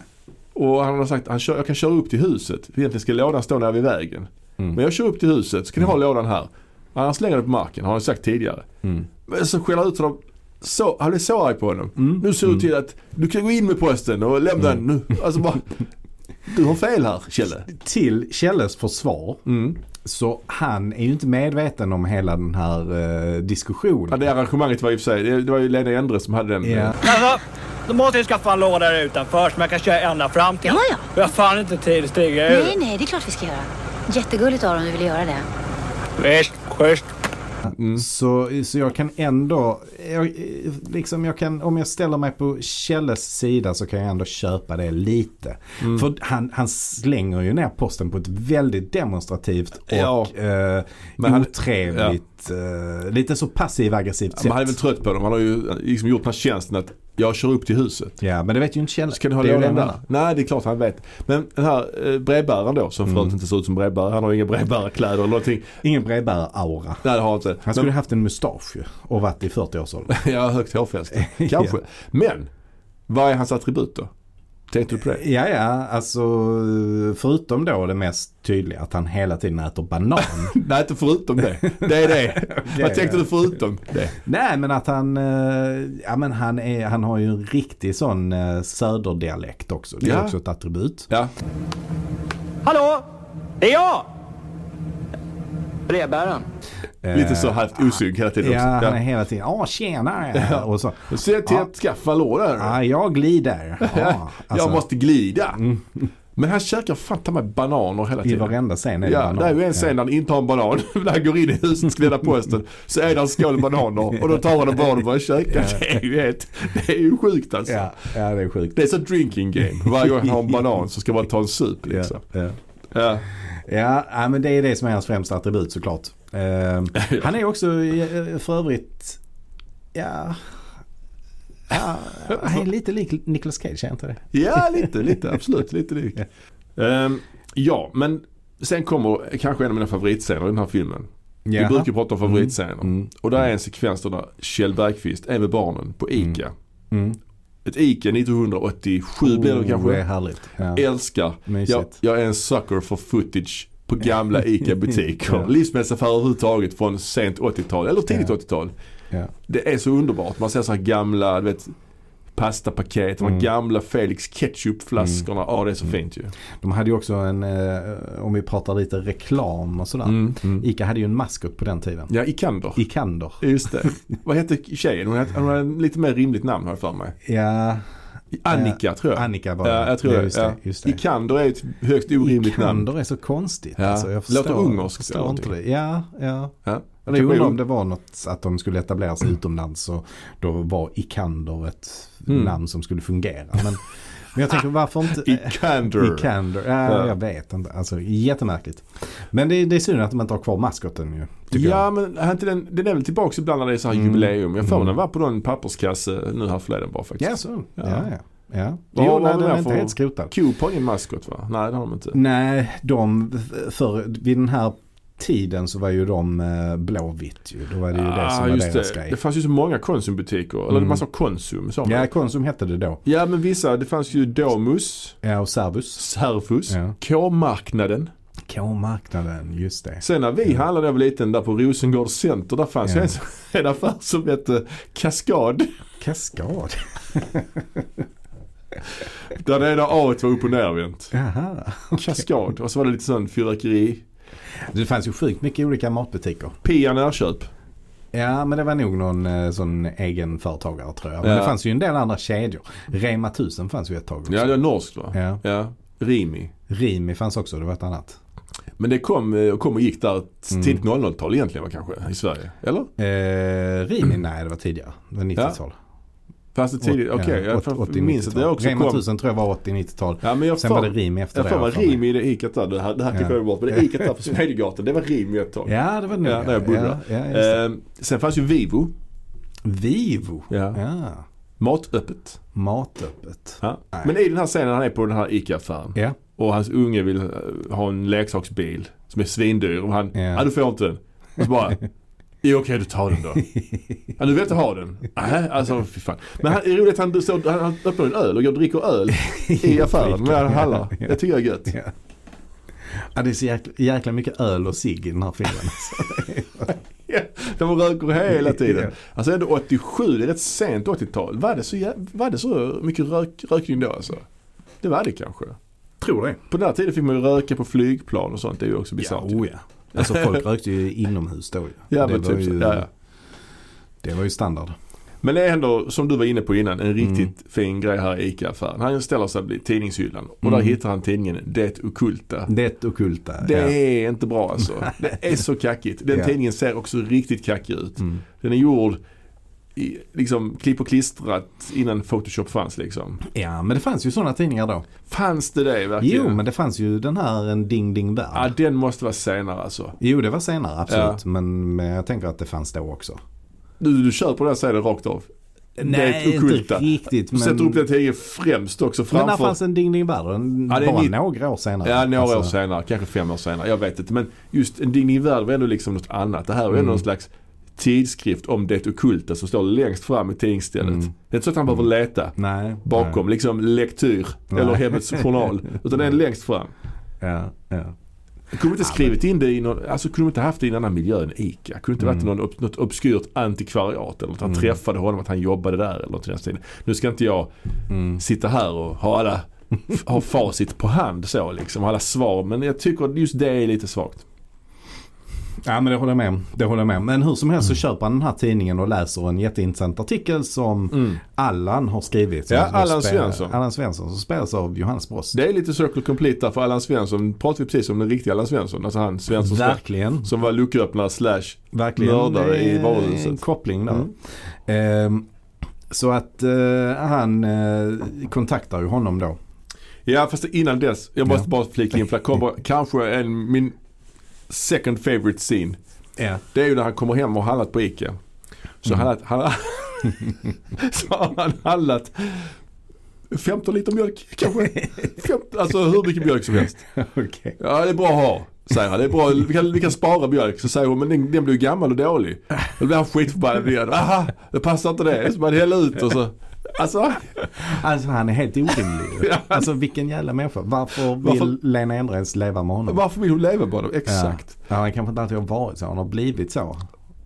A: Och han har sagt han kör, jag kan köra upp till huset. För egentligen ska lådan stå nära vid vägen. Men jag kör upp till huset så kan ni ha lådan här. Annars slänger jag den på marken har han sagt tidigare. Men så skäller han ut honom. Så, han blir så arg på honom. Nu ser du till att du kan gå in med posten och lämna den nu. Alltså bara, Du har fel här, Kjelle.
B: Till Kjelles försvar
A: Mm.
B: så han är ju inte medveten om hela den här eh,
A: Ja,
B: diskussionen.
A: det arrangemanget var i och för sig, det det var ju Lena Endre som hade den.
B: Ja.
E: Alltså, då måste jag skaffa en låda där utanför som jag kan köra ända fram till.
F: Ja, ja.
E: Jag har fan inte tid att stiga
F: Nej,
E: ur.
F: nej, det är klart vi ska göra. Jättegulligt av dem du vill göra det.
E: Visst, schysst.
B: Så, så jag kan ändå, jag, eh, liksom jag kan, om jag ställer mig på Kjelles sida så kan jag ändå köpa det lite.
A: Mm.
B: För han, han slänger ju ner posten på ett väldigt demonstrativt och
A: Ja.
B: eh,
A: Men han-
B: otrevligt, eh, lite så passiv aggressivt sätt.
A: Man är väl trött på dem. Han har ju liksom gjort den här tjänsten att jag kör upp till huset.
B: Ja, men det vet ju inte Kjell.
A: Ska du ha
B: Det är ju
A: lådan
B: det jag
A: där? Nej, det är klart han vet. Men den här eh, brevbäraren då,
B: Mm.
A: som för övrigt inte ser ut som brevbärare. Han har ju inga brevbärarkläder eller någonting.
B: Ingen brevbärare-aura.
A: Nej, det har han inte.
B: Han skulle haft en mustasch ju och varit i 40-årsåldern.
A: Men, ja, högt hårfäste. Kanske. Men, vad är hans attribut då? Tänkte du på det?
B: Ja, ja, alltså förutom då det mest tydliga att han hela tiden äter banan.
A: Nej, inte förutom det. Det är det. Vad tänkte
B: ja.
A: du förutom det?
B: Nej, men att han, eh, ja men han, är, han har ju en riktig sån eh, söderdialekt också. Det är
A: Ja.
B: också ett attribut.
A: Ja,
E: Hallå? Det är jag! Brevbäraren.
A: lite så halvt osynk hela tiden
B: Eh, Ja,
A: också.
B: han är hela tiden, ja tjena ja. och så.
A: Se till att skaffa lådor.
B: Ja, jag glider. Ja, alltså, Mm.
A: Jag måste glida. Men han käkar fan ta mig bananer hela
B: I
A: tiden.
B: varenda scen är det
A: Ja,
B: banan.
A: det är ju en scen där han inte har en banan. när han går in i huset och ska lämna posten så är det en skål bananer och då tar han en banan och börjar käka. Det är ju helt, det är ju sjukt alltså.
B: Ja, ja, det är sjukt.
A: Det är så drinking game. Varje gång han har en banan så ska man ta en sup liksom.
B: Ja.
A: Ja.
B: Ja, ja, men det är det som är hans främsta attribut såklart. Eh, han är också eh, för övrigt, ja, ja han är lite lik Nicolas Cage, är han inte det?
A: Ja, lite, lite, absolut. Lite lik. Ehm, ja, men sen kommer kanske en av mina favoritscener i den här filmen. Vi
B: Jaha. Mm.
A: brukar ju prata om favoritscener. Och där är en sekvens där Kjell Bergqvist är med barnen på ICA.
B: Mm.
A: Ett ICA 1987 blir det
B: Oh, Det är
A: kanske.
B: härligt. Ja.
A: Älskar.
B: Mysigt.
A: Jag, jag är en sucker för footage på gamla ICA-butiker.
B: Ja.
A: Livsmedelsaffärer överhuvudtaget från sent 80-tal eller tidigt 80-tal.
B: Ja.
A: Det är så underbart. Man ser så här gamla, du vet pastapaket,
B: Mm.
A: de här gamla Felix ketchupflaskorna. Ja, det är så fint ju.
B: De hade ju också en, eh, om vi pratar lite reklam och sådär. Ica hade ju en maskot på den tiden.
A: Mm, Ja, Ikander.
B: Ikander.
A: Just det. Vad hette tjejen? Hon hade, hon hade lite mer rimligt namn har jag för mig.
B: Ja,
A: Annika
B: Ja,
A: tror jag.
B: Annika var det.
A: Ja, jag tror
B: Ja,
A: det.
B: just
A: Ja.
B: det, just det.
A: Ikander är ett högst orimligt namn.
B: Ikander är så konstigt.
A: Ja.
B: Alltså, jag
A: Låter
B: förstår,
A: ungerskt eller
B: förstår inte det. Ja, ja.
A: Ja.
B: Jag tror undrar om det var något att de skulle etablera sig utomlands och då var Ikander ett
A: Mm.
B: namn som skulle fungera. Men, men jag tänker varför inte...
A: Ikander.
B: Ikander. Ja,
A: Ja.
B: Jag vet inte. Alltså jättemärkligt. Men det, det är synd att de inte har kvar maskoten ju. tycker
A: Ja
B: jag. Mm.
A: men är inte den, den är väl tillbaka ibland när det är så här jubileum. Jag får den var på någon papperskasse nu härförleden bara faktiskt.
B: Ja, så. Ja,
A: Ja.
B: ja. ja.
A: Vad
B: Jo,
A: har
B: nej,
A: vi
B: den
A: där
B: är inte
A: för-
B: helt skrotad.
A: Coop har ingen maskot va? Nej det har de inte.
B: Nej, de, för, vid den här tiden så var ju de eh, blåvitt ju. Då var det ju det som var deras
A: Ah, det.
B: grej. Mm.
A: det fanns ju så många konsumbutiker. Eller man sa Konsum. Sa man.
B: Ja, Konsum hette det då.
A: ja men vissa. Det fanns ju Domus,
B: Ja, och Servus.
A: Servus,
B: Ja.
A: K-marknaden.
B: K-marknaden, just det.
A: Sen när vi handlade jag var liten där på Rosengård Center. Där fanns
B: Ja.
A: ju en, en affär som hette Kaskad.
B: Kaskad.
A: Där det ena A var upp och nervänt.
B: Jaha.
A: Kaskad. Och så var det lite sån fyrverkeri.
B: Det fanns ju sjukt mycket olika matbutiker.
A: Pia Närköp.
B: Ja, men det var nog någon eh, sån egen företagare tror jag. Men
A: Ja.
B: det fanns ju en del andra kedjor. Rema 1000 fanns ju ett tag också.
A: Ja det var norskt va?
B: Ja.
A: Rimi.
B: Rimi fanns också, det var ett annat.
A: Men det kom, eh, kom och gick där ett
B: Mm.
A: tidigt 00-tal egentligen va kanske? I Sverige. Eller?
B: Eh, Rimi, nej det var tidigare. Det var 90-tal.
A: Fanns det tidigt?
B: Ja,
A: Okej. jag fan-
B: 80-90-tal.
A: minns att det också
B: Rema
A: kom.
B: 1000 tror jag var 80-90-tal.
A: Ja, men jag
B: Sen
A: får-
B: var det Rimi efter
A: jag
B: det.
A: får
B: har
A: vara
B: jag för mig.
A: rim i det ikat där. Det här, det här klippade
B: Ja.
A: jag bort. Men det ikat där på Smedjegatan, det var rim i ett tag.
B: Ja, det var det
A: Ja,
B: nog,
A: när jag
B: ja,
A: bodde
B: ja, just det.
A: där. Ehm, Sen fanns ju Vivo.
B: Vivo.
A: Ja.
B: ja.
A: Matöppet.
B: Matöppet.
A: Ja. Men i den här scenen han är på den här ICA-affären.
B: Ja.
A: Och hans unge vill eh, ha en leksaksbil som är svindyr. Och han,
B: Ja.
A: ja du får inte den. Och så bara, jo okej du tar den då. Ja, du vill inte ha den? Nej, alltså fy fan. Men han, det är roligt att han, så, han, han öppnar en öl och går och dricker öl i affären med hallar. Det tycker jag är gött.
B: Ja. Ja, det är så jäkla, jäkla mycket öl och cigg i den här filmen. alltså.
A: Ja, de röker hela tiden.
B: Ja.
A: Alltså ändå 87, det är rätt sent 80-tal. Var det så, jä- var det så mycket rök, rökning då alltså? Det var det kanske.
B: Tror det.
A: På den här tiden fick man ju röka på flygplan och sånt. Det är ju också
B: Ja,
A: bisarrt.
B: oh, ja. Alltså folk rökte ju inomhus då ju.
A: Ja,
B: det,
A: men
B: var
A: typ så.
B: ju,
A: ja, ja.
B: det var ju standard.
A: Men det är ändå, som du var inne på innan,
B: Mm.
A: en riktigt fin grej här i ICA-affären. Han ställer sig vid tidningshyllan och
B: Mm.
A: där hittar han tidningen Det Okulta.
B: Det ockulta.
A: Det
B: ja.
A: är inte bra alltså. Det är så kackigt. Den
B: Ja. Mm.
A: tidningen ser också riktigt kackig ut. Den är gjord i, liksom klipp och klistrat innan Photoshop fanns liksom.
B: ja, men det fanns ju sådana tidningar då.
A: Fanns det det verkligen?
B: Jo, men det fanns ju den här En Ding Ding Värld.
A: Ja, den måste vara senare alltså.
B: Jo, det var senare absolut. Men, men jag tänker att det fanns då också.
A: Du, du köper den och säger det rakt av.
B: Nej, inte
A: ockulta.
B: riktigt,
A: Du sätter
B: men-
A: upp den tidningen främst också
B: Men när
A: framför.
B: fanns En Ding Ding Värld? Den-
A: Ja, det är
B: bara
A: nitt-
B: några år senare.
A: Ja, några
B: Alltså,
A: år senare. Kanske fem år senare. Jag vet inte. Men just en Digny Värld var ändå liksom något annat. Det här var
B: Mm.
A: ändå någon slags tidskrift om det ockulta som står längst fram i tidningsstället. Det är inte så att han behöver leta
B: Mm. Nej.
A: bakom liksom lektyr eller Hemmets Journal. Utan det är längst fram.
B: Ja, ja.
A: Kunde inte skrivit in det i någon, alltså kunde inte haft det i en annan miljö än ICA. Kunde inte
B: Mm.
A: varit någon, upp- något obskyrt antikvariat eller att han träffade honom, att han jobbade där eller något i den stilen. Nu ska inte jag
B: Mm.
A: sitta här och ha alla, f- ha facit på hand så liksom, och alla svar. Men jag tycker att just det är lite svagt.
B: Ja men det håller jag med om. Det håller jag med om. Men hur som
A: Mm.
B: helst så köper han den här tidningen och läser en jätteintressant artikel som Allan har skrivit. Som
A: Mm. Ja,
B: som
A: Allan
B: spe-
A: Svensson.
B: Allan Svensson som spelas av Johannes Brost.
A: Det är lite circle complete där för Allan Svensson, pratar vi precis om den riktiga Allan Svensson. Alltså han Svensson som-
B: Verkligen.
A: som var lucköppnare slash
B: Verkligen.
A: mördare
B: Det
A: i
B: är En
A: varuhuset. Mm.
B: koppling där. Mm. Ehm, så att eh, han eh, kontaktar ju honom då.
A: Ja fast innan dess, jag måste
B: Ja.
A: bara flika in för det kommer kanske en, min second favorite scene.
B: Ja.
A: Det är ju när han kommer hem och har handlat på ICA. Så,
B: Mm.
A: han, han, så har han handlat 15 liter mjölk kanske. 15, alltså hur mycket mjölk som helst.
B: Okej.
A: Ja det är bra att ha, säger han. Det är bra, vi kan, vi kan spara mjölk. Så säger hon, men den, den blir ju gammal och dålig. Då blir han skitförbannad igen. Aha, det passar inte det. Så man häller ut och så. Alltså,
B: Alltså han är helt orimlig.
A: Ja.
B: Alltså vilken jävla människa. Varför vill
A: Varför-
B: Lena Endre ens leva med honom?
A: varför vill hon leva med dem? Exakt.
B: Ja. Ja, han kanske inte alltid har varit så. Han har blivit så.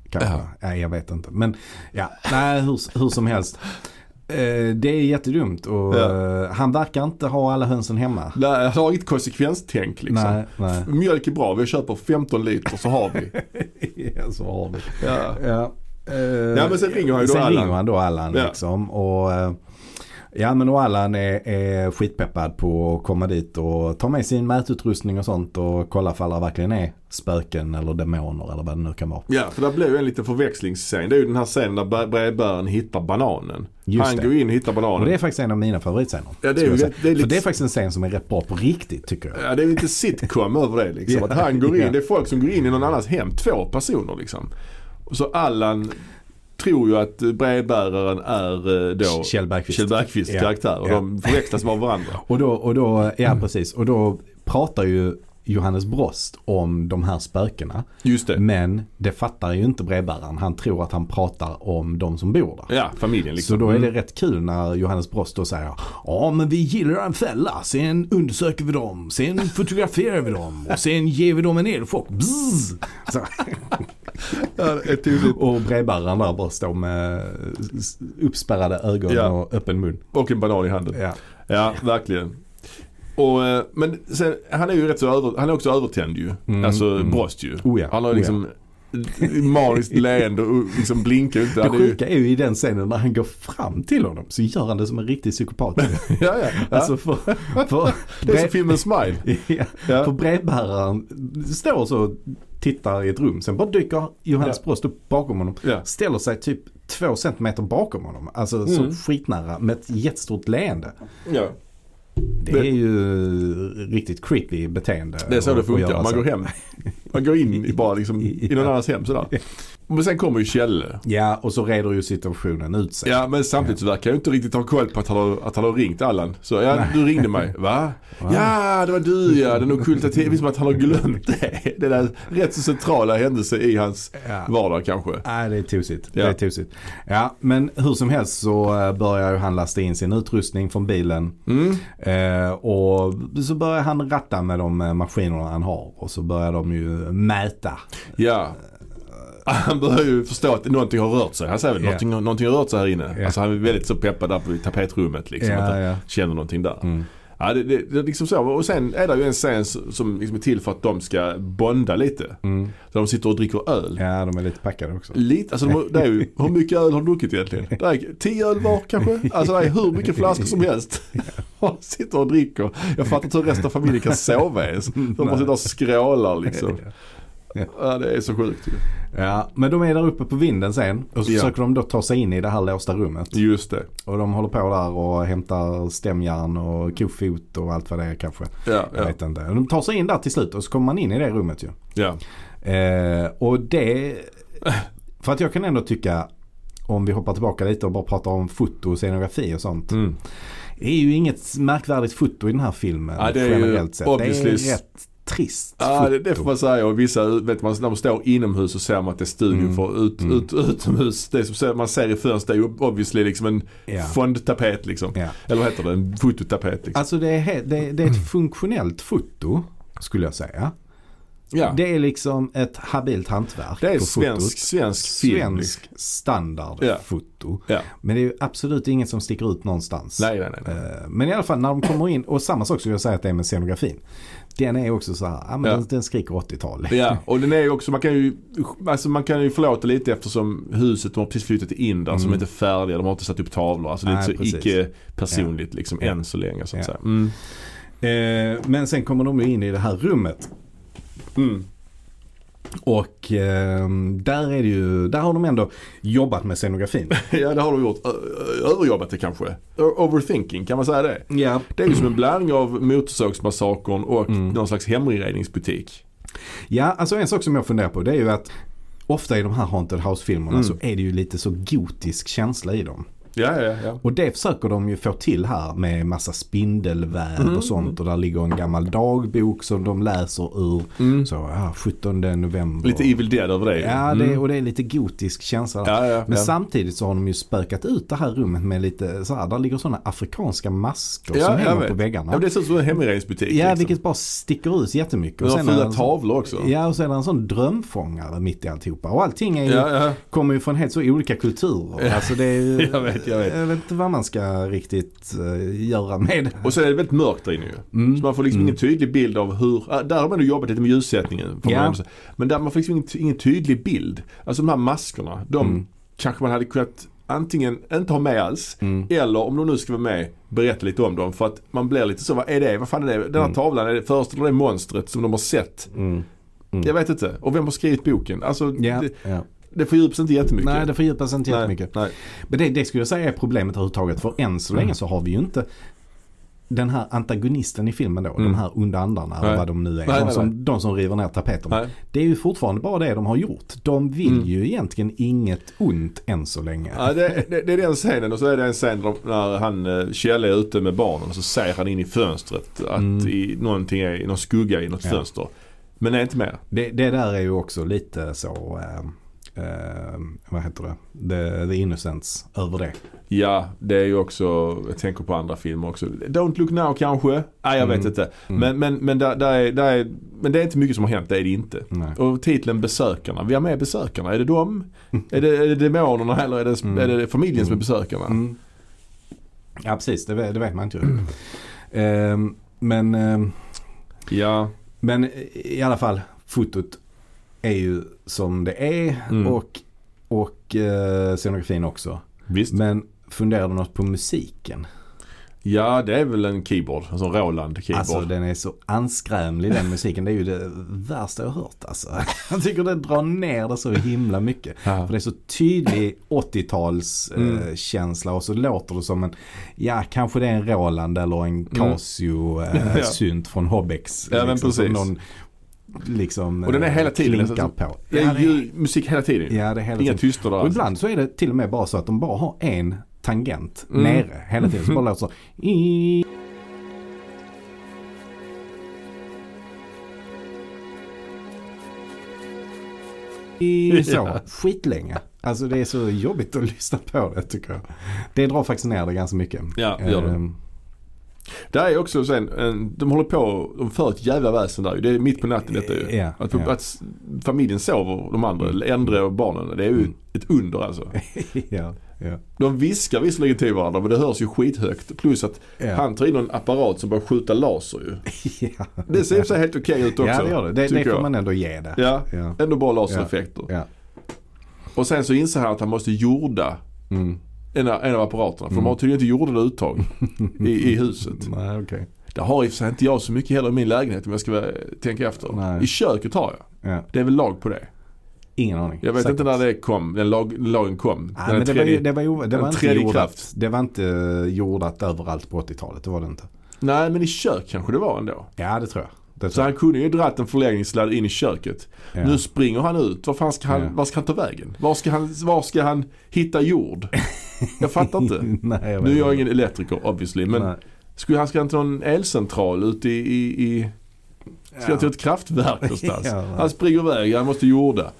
B: Kanske. Ja. jag vet inte. Men ja, nej, hur, hur som helst. Eh, det är jättedumt och
A: Ja.
B: eh, han verkar inte ha alla hönsen hemma.
A: Nej, alltså, jag har inget konsekvenstänk liksom.
B: Nej, nej.
A: F- Mjölk är bra, vi köper 15 liter så har vi.
B: ja, så har vi.
A: Ja.
B: Ja. Eh,
A: Ja, men sen ringer han ju då
B: sen
A: Allan.
B: ringer han då Allan
A: Ja.
B: liksom. Och, eh, ja men och Allan är, är skitpeppad på att komma dit och ta med sin mätutrustning och sånt och kolla ifall det verkligen är spöken eller demoner eller vad det nu kan vara.
A: Ja, för där blev ju en liten förväxlingsscen. Det är ju den här scenen där bre- brevbäraren hittar bananen.
B: Just
A: han
B: det.
A: går in och hittar
B: Och det
A: bananen.
B: är faktiskt en av mina favoritscener.
A: Ja, det är
B: skulle jag
A: ju
B: säga.
A: rätt- det är lite-
B: För det är faktiskt en scen som är rätt bra på riktigt tycker jag.
A: Ja, det är ju inte sitcom över det liksom. Att han går in,
B: Ja.
A: det är folk som går in i någon annans hem, två personer liksom. Och Så Allan tror ju att eh, brevbäraren är eh, då
B: Kjell Bergqvist.
A: Bergqvists
B: Ja.
A: karaktär och
B: Ja.
A: de förväxlas med varandra.
B: Och då, och då, ja
A: Mm.
B: precis, och då pratar ju Johannes Brost om de här spökena.
A: Just det.
B: Men det fattar ju inte brevbäraren. Han tror att han pratar om de som bor där.
A: Ja, familjen
B: Så
A: liksom.
B: då är det rätt kul när Johannes Brost då säger Ja men vi gillar en fälla, sen undersöker vi dem, sen fotograferar vi dem och sen ger vi dem en elchock. Bzzz. Så. och brevbäraren där bara står med s- uppspärrade ögon
A: Ja.
B: och öppen mun.
A: Och en banan i handen.
B: Ja.
A: Ja, verkligen. Och, eh, men sen, han är ju rätt så över, han är också övertänd ju. alltså Brost ju.
B: Mm, Oh ja,
A: Han har ju
B: oh
A: liksom maniskt leende och liksom blinkar ju inte.
B: Det
A: Han är ju,
B: sjuka är ju i den scenen när han går fram till honom så gör han det som en riktig psykopat.
A: ja, ja, ja.
B: Alltså för, för,
A: det är som filmen Smile.
B: Ja,
A: Ja.
B: För brevbäraren står så och tittar i ett rum. Sen bara dyker Johannes
A: Ja.
B: Brost upp bakom honom.
A: Ja.
B: Ställer sig typ två centimeter bakom honom. Alltså
A: Mm.
B: så skitnära med ett jättestort leende.
A: Ja.
B: Det,
A: Det-
B: är ju riktigt creepy beteende.
A: Det är så
B: att-
A: det
B: att
A: funkar.
B: göra
A: Man
B: så.
A: går hem. Man går in i bara liksom, i någon annans hem sådär. Men sen kommer ju Kjelle.
B: Ja, och så reder ju situationen ut sig.
A: Ja men samtidigt så verkar jag ju inte riktigt ha koll på att han har, att han har ringt Allan. Så ja, du ringde mig. Va? Ja det var du ja, den ockulta tiden. Det är som att han har glömt det. Det där rätt så centrala händelse i hans
B: Ja.
A: vardag kanske.
B: Nej, det är tosigt.
A: Ja.
B: Det är tosigt. Ja, men hur som helst så eh, börjar ju han lasta in sin utrustning från bilen.
A: Mm.
B: Eh, och så börjar han ratta med de eh, maskinerna han har. Och så börjar de ju mäta.
A: Ja. Han börjar ju förstå att någonting har rört sig. Han säger väl
B: Ja.
A: någonting, någonting har rört sig här inne.
B: Ja.
A: Alltså han är väldigt så peppad där på tapetrummet liksom.
B: Ja, Mm.
A: att han
B: ja.
A: känner någonting där. Ja, det, det, det är liksom så. Och sen är det ju en scen som liksom är till för att de ska bonda lite.
B: Mm.
A: Så de sitter och dricker öl.
B: Ja, de är lite packade också.
A: Lite, alltså de, har- det är ju, hur mycket öl har de druckit egentligen? Det är tio öl var kanske? Alltså det är hur mycket flaskor som helst. Och sitter och dricker. Jag fattar inte hur resten av familjen kan sova ens. De bara sitter och skrålar liksom. Ja, det är så sjukt ju.
B: Ja, men de är där uppe på vinden sen och så
A: Ja.
B: försöker de då ta sig in i det här låsta rummet.
A: Just det.
B: Och de håller på där och hämtar stämjärn och kofot och allt vad det är kanske.
A: Ja,
B: Jag
A: ja,
B: vet inte. De tar sig in där till slut och så kommer man in i det rummet ju.
A: ja.
B: Eh, och det... För att jag kan ändå tycka, om vi hoppar tillbaka lite och bara pratar om foto och scenografi och sånt.
A: Mm.
B: Det är ju inget märkvärdigt foto i den här filmen
A: Ja, det är ju
B: generellt sett. Det
A: obviously-
B: är rätt trist
A: Ja, det,
B: foto.
A: det får man säga. Och vissa, vet man, när man står inomhus så ser man att det är studion.
B: Mm.
A: För ut, ut, utomhus, det som ser- man ser i fönstret är ju obviously liksom en
B: Ja.
A: fondtapet liksom.
B: Ja.
A: Eller vad heter det? En fototapet liksom.
B: Alltså det är, he- det, det är ett funktionellt foto skulle jag säga.
A: ja.
B: Det är liksom ett habilt hantverk
A: Det är
B: på
A: svensk,
B: fotot.
A: svensk film. liksom.
B: Svensk
A: Ja.
B: standardfoto.
A: Ja.
B: Men det är ju absolut inget som sticker ut någonstans.
A: Nej, nej, nej. nej.
B: Eh, Men i alla fall när de kommer in, och samma sak skulle jag säga att det är med scenografin. Den är också så här, ja, men
A: Ja.
B: Den, den skriker 80-tal.
A: Ja, och den är ju också, man kan ju, alltså man kan ju förlåta lite eftersom huset, de har precis flyttat in där, som inte är färdiga, de har inte satt upp tavlor. Alltså det är
B: Mm. Nej,
A: inte
B: precis.
A: så icke-personligt liksom, än så länge så att
B: Ja.
A: säga. Mm.
B: Eh, Men sen kommer de ju in i det här rummet.
A: Mm.
B: Och eh, där, är det ju, där har de ändå jobbat med scenografin.
A: Ja, det har de gjort. Ö- ö- Överjobbat det kanske. Ö- Overthinking, kan man säga det?
B: ja. Mm.
A: Det är ju som en blandning av Motorsågsmassakern och någon slags heminredningsbutik.
B: Ja, alltså en sak som jag funderar på det är ju att ofta i de här Haunted
A: Mm.
B: House-filmerna så är det ju lite så gotisk känsla i dem.
A: Ja, ja, ja.
B: Och det försöker de ju få till här med massa spindelväv
A: Mm.
B: och sånt. Och där ligger en gammal dagbok som de läser ur. Så, ja, 17 november.
A: Mm. Lite Evil Dead över det.
B: Ja, det, och det är lite gotisk känsla. där.
A: Ja, ja,
B: Men
A: ja.
B: samtidigt så har de ju spökat ut det här rummet med lite så här, där ligger sådana afrikanska masker
A: Ja,
B: som
A: jag
B: hänger
A: vet.
B: på väggarna.
A: Ja, men det ser ut som en heminredningsbutik.
B: Ja,
A: liksom.
B: vilket bara sticker ut jättemycket.
A: De har
B: är det
A: fula
B: en-
A: tavlor också.
B: Ja, och så är det en sån drömfångare mitt i alltihopa. Och allting är ju,
A: Ja, ja.
B: kommer ju från helt så olika kulturer. Alltså det är ju,
A: Jag vet, jag vet.
B: inte vad man ska riktigt eh, göra med det.
A: Och så är det väldigt mörkt där inne ju.
B: Mm.
A: Så man får liksom ingen tydlig bild av hur, ah, där har man ju jobbat lite med ljussättningen. Får
B: Ja.
A: man ändå säga. Men där man får liksom ingen, ingen tydlig bild. Alltså de här maskerna, de
B: Mm.
A: kanske man hade kunnat antingen inte ha med alls
B: Mm.
A: eller om de nu ska vara med berätta lite om dem. För att man blir lite så, vad är det? Vad fan är det? Den
B: Mm.
A: här tavlan, är det, föreställer det monstret som de har sett? Jag vet inte. Och vem har skrivit boken? Alltså
B: Mm. Ja,
A: det,
B: ja.
A: det fördjupas inte jättemycket.
B: Nej, det fördjupas inte
A: Nej,
B: jättemycket.
A: nej. Mm.
B: Men det, det skulle jag säga är problemet överhuvudtaget. För än så länge så har vi ju inte den här antagonisten i filmen då, de här onda andarna
A: Mm. Nej.
B: och vad de nu är.
A: Nej,
B: de,
A: nej,
B: som,
A: nej.
B: de som river ner tapeterna.
A: Nej. Mm.
B: Det är ju fortfarande bara det de har gjort. De vill ju egentligen inget ont än så länge.
A: Ja, det, det, det är den scenen och så är det en scen där- när han, eh, Kjell är ute med barnen och så ser han in i fönstret att
B: Mm.
A: i, någonting är, någon skugga i något fönster. Men det är inte mer.
B: Det, det där är ju också lite så, eh, eh, vad heter det, the, the innocence över det.
A: Ja, det är ju också, jag tänker på andra filmer också. Don't look now kanske? Nej, jag vet
B: Mm.
A: inte. Men, men, men, där, där är, där är, men det är inte mycket som har hänt, det är det inte.
B: Nej.
A: Och titeln Besökarna, vi har med besökarna. Är det dem? är, det, är det demonerna eller är det,
B: Mm.
A: är det familjen som är besökarna?
B: Ja precis, det, vet- det vet man inte ju. Ehm, men, ehm,
A: Ja.
B: men i alla fall, fotot är ju som det är och, och eh, scenografin också.
A: Visst.
B: Men funderar du något på musiken?
A: Ja, det är väl en keyboard. En sån Roland keyboard.
B: Alltså den är så anskrämlig den musiken. Det är ju det värsta jag hört alltså. Jag tycker det drar ner det så himla mycket. För det är så tydlig
A: Mm.
B: 80-talskänsla känsla och så låter det som en, ja kanske det är en Roland eller en Casio eh,
A: Mm. Ja.
B: synt från Hobbex.
A: Ja, men
B: Som
A: precis.
B: någon liksom
A: Och den är
B: eh,
A: hela tiden.
B: klinkar på.
A: Det
B: Ja,
A: är
B: det
A: ju musik hela tiden.
B: Ja, det är hela
A: Inga
B: tiden.
A: tystnader
B: Och
A: alls.
B: ibland så är det till och med bara så att de bara har en tangent
A: Mm.
B: nere hela tiden. Så bara låter så. i- i- Så, skitlänge. Alltså det är så jobbigt att lyssna på det tycker jag. Det drar faktiskt ner det ganska mycket.
A: Ja, det gör det.
B: Ehm,
A: Det är också sen, en, de håller på, de för ett jävla väsen där ju. Det är mitt på natten detta ju.
B: Ja,
A: att,
B: ja. Mm.
A: att s- familjen sover, de andra, äldre och barnen. Det är ju ett under alltså.
B: ja, ja.
A: De viskar visserligen till varandra men det hörs ju skithögt. Plus att
B: Ja.
A: han tar in en apparat som börjar skjuta laser ju.
B: ja.
A: Det ser i och för sig helt okej ut också.
B: ja, det gör det. Det, det
A: tycker
B: får
A: jag.
B: man ändå ge det.
A: Ja,
B: Ja.
A: ändå bra
B: ja.
A: lasereffekter.
B: Ja.
A: Och sen så inser han att han måste jorda en, av- en av apparaterna. För de har tydligen inte jordade uttag i, i huset.
B: Nej, okej.
A: Det har i och för sig inte jag så mycket heller i min lägenhet om jag ska vara- tänka efter.
B: Nej.
A: I köket har jag.
B: Ja.
A: Det är väl lag på det.
B: Ingen aning.
A: Jag vet
B: Säkert.
A: inte när det kom, den lag, lagen kom.
B: Nej,
A: Den
B: men det var,
A: tredje-
B: ju- det var, ju- det
A: den
B: var inte
A: tredje
B: jordat.
A: kraft.
B: Det var inte jordat överallt på 80-talet. Det var det inte.
A: Nej men i kök kanske det var ändå.
B: Ja, det tror jag. Det
A: Så
B: tror jag.
A: han kunde ju dratt en förlängningssladd in i köket.
B: Ja.
A: Nu springer han ut. Var fan ska han,
B: Ja.
A: var ska han ta vägen? Var ska han, var ska han hitta jord? Jag fattar inte.
B: Nej, jag vet
A: nu är jag
B: inte.
A: ingen elektriker obviously men
B: Nej.
A: skulle han ska inte ha någon elcentral ute i, i, i Ska han till ett kraftverk någonstans?
B: Ja, nej.
A: han springer iväg, han måste jorda.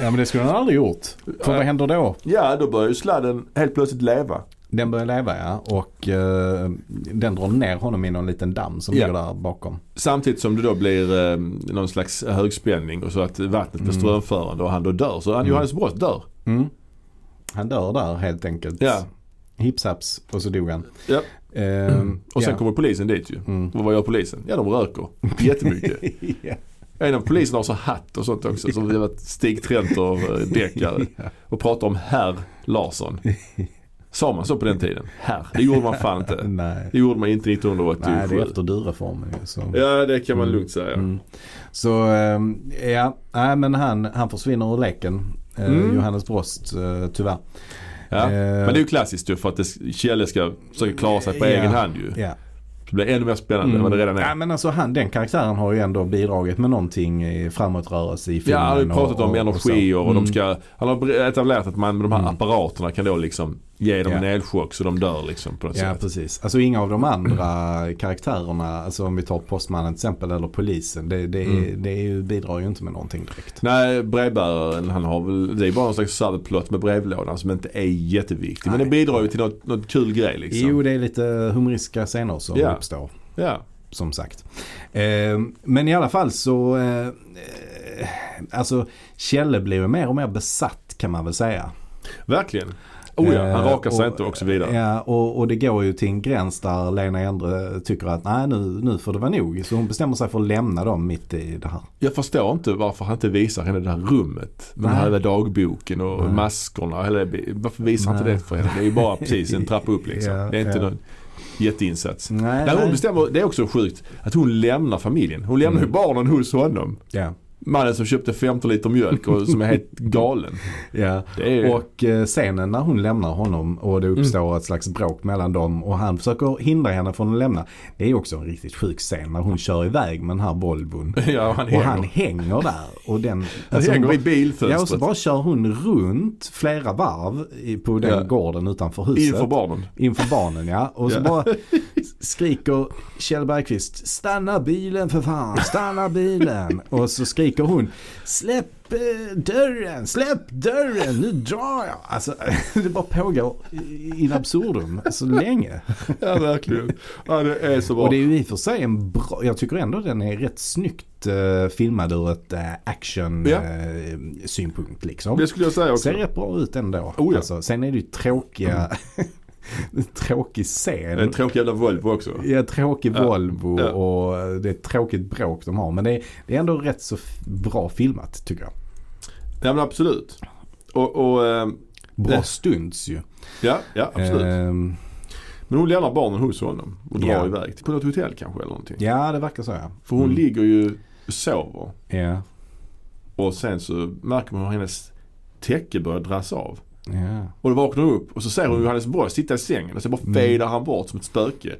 B: Ja, men det skulle han aldrig gjort. För vad händer då?
A: Ja, då börjar ju sladden helt plötsligt leva.
B: Den börjar leva ja och eh, den drar ner honom i någon liten damm som
A: Ja.
B: ligger där bakom.
A: Samtidigt som det då blir eh, någon slags högspänning och så att vattnet
B: Mm.
A: blir strömförande och han då dör. Så han, Johannes Brott dör.
B: Han dör där helt enkelt.
A: Ja.
B: Hipsaps och så dog han.
A: Ja.
B: Eh,
A: Och sen
B: ja. Mm.
A: kommer polisen dit ju. Och vad gör polisen? Ja, de röker jättemycket.
B: Ja.
A: en av polisen har så hatt och sånt också. Som jävla Stig Trenter eh, deckare. Och pratar om herr Larsson. Sa man så på den tiden? Herr? Det gjorde man fan inte.
B: Nej.
A: Det gjorde man inte 1987.
B: Nej, det är efter Mm. du-reformen ju. Så,
A: Ja, det kan man lugnt säga.
B: så eh, ja, nej men han, han försvinner ur leken. Eh, Johannes Brost eh, tyvärr.
A: Ja.
B: Eh,
A: Men det är ju klassiskt ju för att det- Kjelle ska försöka klara sig på
B: Ja.
A: egen hand ju.
B: Ja.
A: Det blir ännu mer spännande än vad det redan är.
B: Ja, men alltså han, den karaktären har ju ändå bidragit med någonting i framåtrörelse i
A: Ja,
B: filmen.
A: han har ju pratat om energi och,
B: så. Mm.
A: de ska, han har etablerat att man med de här apparaterna kan då liksom ge dem
B: Ja.
A: en elchock så de dör liksom på något
B: Ja,
A: sätt.
B: precis. Alltså inga av de andra karaktärerna, alltså om vi tar postmannen till exempel eller polisen, det, det, det är ju, bidrar ju inte med någonting direkt.
A: Nej, brevbäraren han har väl, det är bara någon slags subplot med brevlådan som inte är jätteviktig. Men den bidrar ju till något, något kul grej liksom.
B: Jo, det är lite humoristiska scener som
A: Ja.
B: uppstår,
A: Ja.
B: som sagt. Eh, men i alla fall så, eh, eh, alltså Kjelle blir ju mer och mer besatt kan man väl säga.
A: Verkligen. Oh ja, han
B: Eh,
A: rakar sig
B: och- eh,
A: inte och så vidare.
B: Ja, och, och det går ju till en gräns där Lena Endre tycker att nej nu, nu får det vara nog. Så hon bestämmer sig för att lämna dem mitt i det här.
A: Jag förstår inte varför han inte visar henne det här rummet. Med den här
B: Nej.
A: jävla dagboken och maskorna. Eller, varför visar han inte det för henne? Det är ju bara precis en trappa upp liksom.
B: Ja,
A: det är inte
B: ja.
A: någon jätteinsats.
B: Nej,
A: När hon
B: nej.
A: bestämmer, det är också sjukt, att hon lämnar familjen. Hon lämnar
B: Mm.
A: ju barnen hos honom.
B: Ja.
A: Mannen som köpte 15 liter mjölk och som är helt galen.
B: Ja,
A: Det är-
B: och eh, scenen när hon lämnar honom och det uppstår ett slags bråk mellan dem och han försöker hindra henne från att lämna. Det är också en riktigt sjuk scen när hon kör iväg med den här Volvon.
A: Ja, han
B: och
A: hänger.
B: han hänger där. Och den,
A: hänger
B: hon
A: i bilfönstret.
B: Ja, och så bara kör hon runt flera varv i- på den
A: Ja.
B: gården utanför huset.
A: Inför barnen.
B: Inför barnen ja. Och så
A: Ja.
B: bara skriker Kjell Bergqvist stanna bilen för fan, stanna bilen. Och så skriker hon släpp eh, dörren, släpp dörren, nu drar jag. Alltså det bara pågår i- in absurdum så länge.
A: Ja, verkligen. Ja, det är så bra.
B: Och det är ju i och för sig en bra, jag tycker ändå den är rätt snyggt eh, filmad ur ett eh, action
A: Ja.
B: eh, synpunkt liksom.
A: Det skulle jag säga också.
B: Ser rätt bra ut ändå.
A: Oh ja. Mm.
B: alltså, sen är det ju tråkiga, tråkig scen.
A: Det är en tråkig Eh, jävla Volvo också.
B: Ja, tråkig Volvo
A: ja.
B: och det är ett tråkigt bråk de har. Men det är, det är ändå rätt så f- bra filmat tycker jag.
A: Ja, men absolut. Och, och ehm,
B: Bra
A: Ja.
B: stunts ju.
A: ja, ja, absolut.
B: Ehm,
A: Men hon lämnar barnen hos honom och drar
B: Ja.
A: iväg. På något hotell kanske eller någonting.
B: ja, Mm. det verkar så ja.
A: För hon ligger ju och sover.
B: Ja,
A: Och sen så märker man hur hennes täcke börjar dras av.
B: ja.
A: Och då vaknar hon upp och så ser hon Johannes Borg sitta i sängen och så
B: Mm.
A: bara fejdar han bort som ett spöke.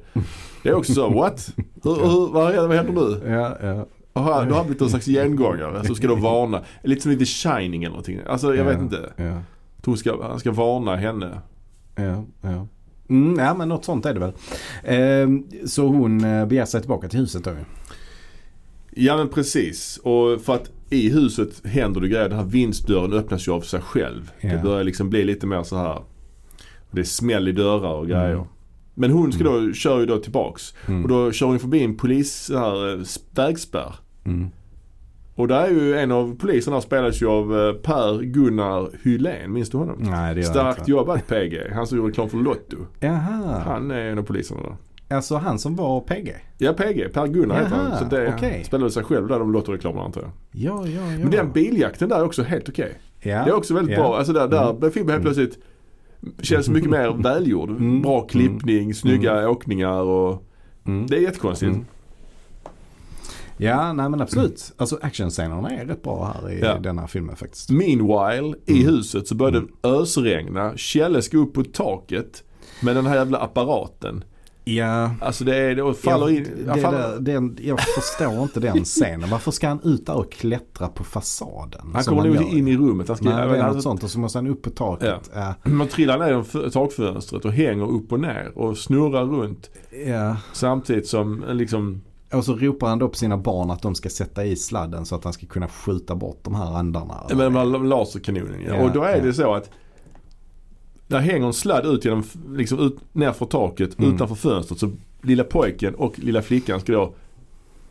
A: Det är också så, what? Hur, hur, vad, händer, vad händer nu?
B: ja, ja.
A: Och här, då har han blivit någon slags gengångare som ska då varna. Lite som lite Shining eller någonting. Alltså jag vet inte.
B: Ja,
A: Hon ska, han ska varna henne.
B: ja, ja. Mm, ja, men något sånt är det väl. Ehm, så hon eh, begär sig tillbaka till huset då ju.
A: Ja men precis. Och för att i huset händer det grejer. Den här vindsdörren öppnas ju av sig själv.
B: Ja. Mm.
A: Det börjar liksom bli lite mer så här. Det är smäll i dörrar och grejer. Men hon ska då, kör ju då tillbaks. Och då kör hon förbi en polis, så här, eh, s- vägspärr.
B: Mm.
A: Och där är ju en av poliserna spelas ju av eh, Per Gunnar Hylén. Minns du honom?
B: Nej, det gör jag
A: Starkt
B: inte.
A: jobbat PG. Han som gjorde reklam för Lotto.
B: Jaha,
A: Han är en av poliserna där.
B: alltså han som var PG?
A: Ja, PG. Per Gunnar heter
B: Jaha,
A: han. Så det
B: okej.
A: spelade sig själv där de Lotto-reklamerna antar jag.
B: Ja, ja, ja.
A: Men den biljakten där är också helt okej.
B: ja.
A: Det är också väldigt
B: ja.
A: bra. Alltså där, där mm. filmen helt plötsligt känns mycket mer välgjord.
B: Mm.
A: Bra klippning, snygga åkningar och
B: Mm.
A: det är jättekonstigt.
B: Ja, nej men absolut. Alltså actionscenerna är rätt bra här i
A: Ja.
B: den här filmen faktiskt.
A: Meanwhile, i
B: Mm.
A: huset så började det ösregna. Kjelle ska upp på taket med den här jävla apparaten.
B: Ja,
A: Alltså det är, det faller
B: jag,
A: in.
B: det,
A: Jag faller,
B: där- den, jag förstår inte den scenen. Varför ska han ut där och klättra på fasaden?
A: han
B: som
A: kommer nog
B: gör?
A: in i rummet. Han ska,
B: Nej,
A: jag
B: det
A: menar,
B: är
A: alltså,
B: något sånt och så måste han upp på taket. Ja.
A: Man trillar ner genom f- takfönstret och hänger upp och ner och snurrar runt.
B: ja.
A: Samtidigt som eh, liksom
B: Och så ropar han då på sina barn att de ska sätta i sladden så att han ska kunna skjuta bort de här andarna.
A: Ja, Men med laserkanonen ja.
B: Ja,
A: Och då är
B: ja.
A: det så att där hänger en sladd ut genom, liksom ut, ner för taket
B: Mm.
A: utanför fönstret. Så lilla pojken och lilla flickan ska då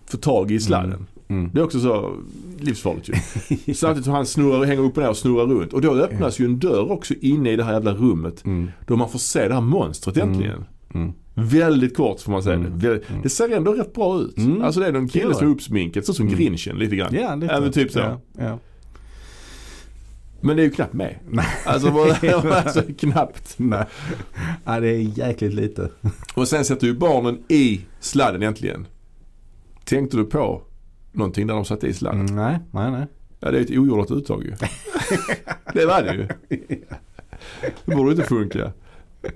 A: få tag i sladden.
B: Mm.
A: Det är också så livsfarligt ju. Samtidigt som han snurrar, hänger upp och ner och snurrar runt. Och då öppnas ju en dörr också inne i det här jävla rummet. Då man får se det här monstret äntligen.
B: Mm.
A: Väldigt kort får man säga det. Väl- Det ser ändå rätt bra ut.
B: Mm.
A: Alltså det är någon
B: Det gör
A: kille som
B: det.
A: är uppsminkad, så som Grinchen lite grann.
B: Ja, lite.
A: Ja, men typ så.
B: Ja, ja.
A: Men det är ju knappt med. Alltså, vad- alltså knappt.
B: Nej. Nej, det är jäkligt lite.
A: Och sen sätter ju barnen i sladden äntligen. Tänkte du på någonting där de satte i sladden?
B: Nej, nej, nej.
A: Ja det är ett ogjordat uttag ju. det var det ju. Det borde inte funka.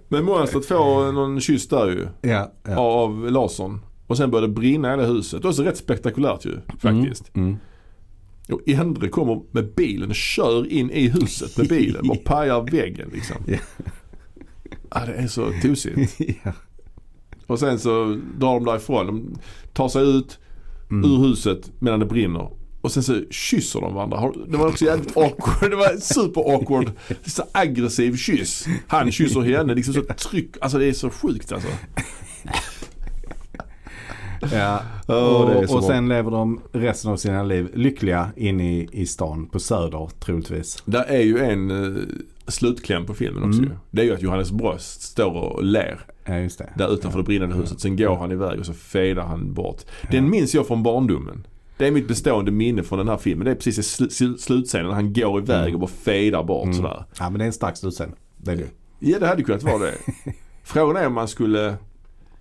A: Men monstret får någon kyss där ju.
B: Ja, ja.
A: Av lasern. Och sen börjar det brinna i hela huset. Det är också rätt spektakulärt ju faktiskt.
B: Mm.
A: Och Endre kommer med bilen och kör in i huset med bilen och pajar väggen liksom.
B: Ja.
A: Ja, det är så tosigt.
B: ja.
A: Och sen så drar de därifrån. De tar sig ut
B: Mm.
A: ur huset medan det brinner. Och sen så kysser de varandra. Har- Det var också jävligt awkward. Det var super awkward. Så aggressiv kyss. Han kysser henne. Liksom så tryck. Alltså det är så sjukt alltså.
B: Ja.
A: Åh, det är
B: och,
A: så
B: och
A: bra.
B: sen lever de resten av sina liv lyckliga inne i, i stan på Söder troligtvis.
A: Där är ju en eh, slutkläm på filmen också
B: Mm.
A: ju. Det är ju att Johannes Brost står och ler.
B: Ja, just det.
A: Där utanför det brinnande huset. Sen går han iväg och så fejdar han bort. Den minns jag från barndomen. Det är mitt bestående minne från den här filmen. Det är precis i sl- sl- slutscenen. när Han går
B: Mm.
A: iväg och bara fejdar bort sådär.
B: Ja, men det är en stark slutscen. Det är det.
A: Ja det hade kunnat vara det. Frågan är om man skulle...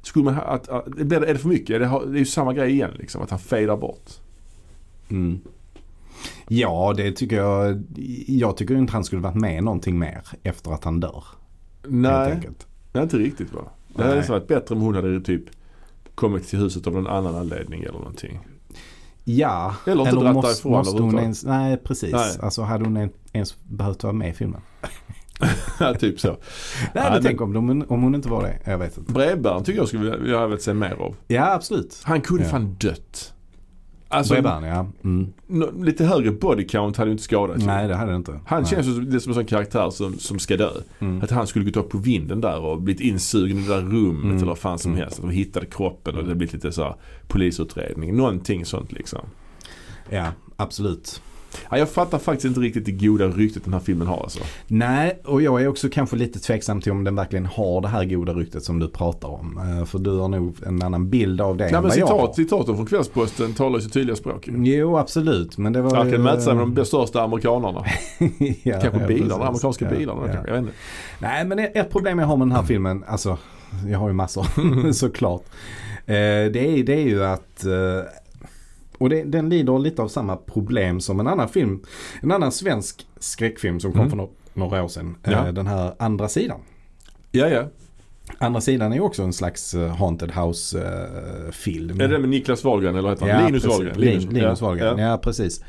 A: skulle man ha, att, att, blir det- är det för mycket? Är det, har- det är ju samma grej igen liksom. Att han fejdar bort.
B: Ja, det tycker jag. Jag tycker inte han skulle varit med någonting mer efter att han dör. Helt
A: Nej,
B: enkelt.
A: nej inte riktigt va? Det
B: Nej.
A: hade varit bättre om hon hade typ kommit till huset av någon annan anledning eller någonting.
B: Ja,
A: Eller inte dratt
B: måste,
A: därifrån
B: måste hon
A: överhuvudtaget.
B: ens, Nej, precis.
A: Nej.
B: Alltså hade hon en- ens behövt vara med i filmen?
A: Ja, typ så.
B: Nej,
A: Ja,
B: men
A: men-
B: tänk om, de, om hon inte var det. Jag vet inte.
A: Brevbäraren tycker jag skulle vilja, vilja ha velat se mer av.
B: Ja, absolut.
A: Han kunde
B: Ja.
A: fan dött. Alltså,
B: Bredband, ja. Mm.
A: nå- lite högre body count hade ju inte skadat. ju.
B: Nej, det hade det inte.
A: Han
B: nej. Mm.
A: känns ju som, det är som en sån karaktär som, som ska dö. Att han skulle gått upp på vinden där och blivit insugen i det där rummet
B: Mm.
A: eller vad fan som helst. Att de hittade kroppen och det blivit lite så här polisutredning. Någonting sånt liksom.
B: Ja, absolut.
A: Ja, jag fattar faktiskt inte riktigt det goda ryktet den här filmen har alltså.
B: Nej, och jag är också kanske lite tveksam till om den verkligen har det här goda ryktet som du pratar om. Eh, För du har nog en annan bild av det
A: Nej
B: än
A: men
B: vad jag har.
A: citat, citaten från Kvällsposten talar ju sitt tydliga språk. ju.
B: Jo, absolut. Men det var
A: Han kan
B: ju-
A: mäta sig med de bästa- största amerikanerna.
B: ja,
A: Kanske bilarna,
B: ja, precis.
A: amerikanska bilarna
B: Ja.
A: kanske. Jag vet inte.
B: Nej, men ett- ett problem jag har med den här filmen, alltså jag har ju massor såklart. Eh, Det är, det är ju att, eh, och det, den lider lite av samma problem som en annan film, en annan svensk skräckfilm som kom för no- några år sedan. eh,
A: Mm. Ja.
B: Den här Andra sidan.
A: Ja, ja.
B: Andra sidan är ju också en slags eh, Haunted eh, House-film.
A: Är det med Niklas Wahlgren eller heter han? Linus
B: precis.
A: Wahlgren.
B: Lin- Linus Wahlgren,
A: Ja.
B: ja, precis.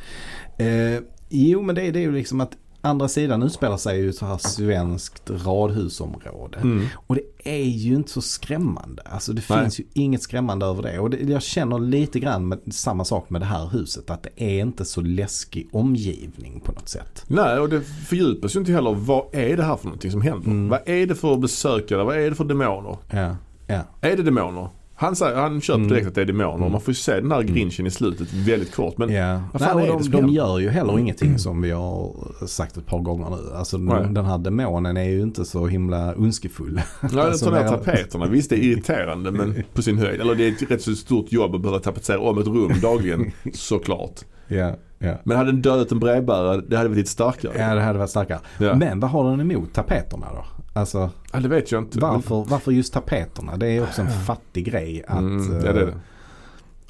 B: Eh, jo, men det, det är ju liksom att andra sidan utspelar sig i ett så här svenskt radhusområde. Och det är ju inte så skrämmande. Alltså det
A: Mm. Nej.
B: finns ju inget skrämmande över det. Och det, jag känner lite grann med, samma sak med det här huset. Att det är inte så läskig omgivning på något sätt.
A: Nej, och det
B: Mm.
A: fördjupas ju inte heller. Vad är det här för någonting som händer? Vad är det för besökare? Vad är det för demoner?
B: Ja. Ja.
A: Är det demoner? Han, säger, han köper
B: Mm.
A: direkt att det är demoner. Man får ju se den här grinchen i slutet väldigt kort. Men
B: Ja.
A: vad
B: Nej,
A: fan
B: och
A: är det
B: de,
A: som
B: de
A: händer?
B: gör ju heller ingenting som vi har sagt ett par gånger nu. Alltså
A: Nej.
B: den, den här demonen är ju inte så himla ondskefull.
A: Ja, de
B: Alltså,
A: tar ner
B: det är-
A: tapeterna. Visst, det är irriterande men på sin höjd. Eller det är ett rätt så stort jobb att behöva tapetsera om ett rum dagligen, såklart.
B: Ja, ja.
A: Men hade den dödat en brevbärare, det hade varit lite starkare. Ja.
B: Ja, det hade varit starkare.
A: Ja.
B: Men vad har den emot tapeterna då? Alltså
A: det vet jag inte.
B: varför, varför just tapeterna? Det är också en fattig grej att eh,
A: Mm, ja, det är det.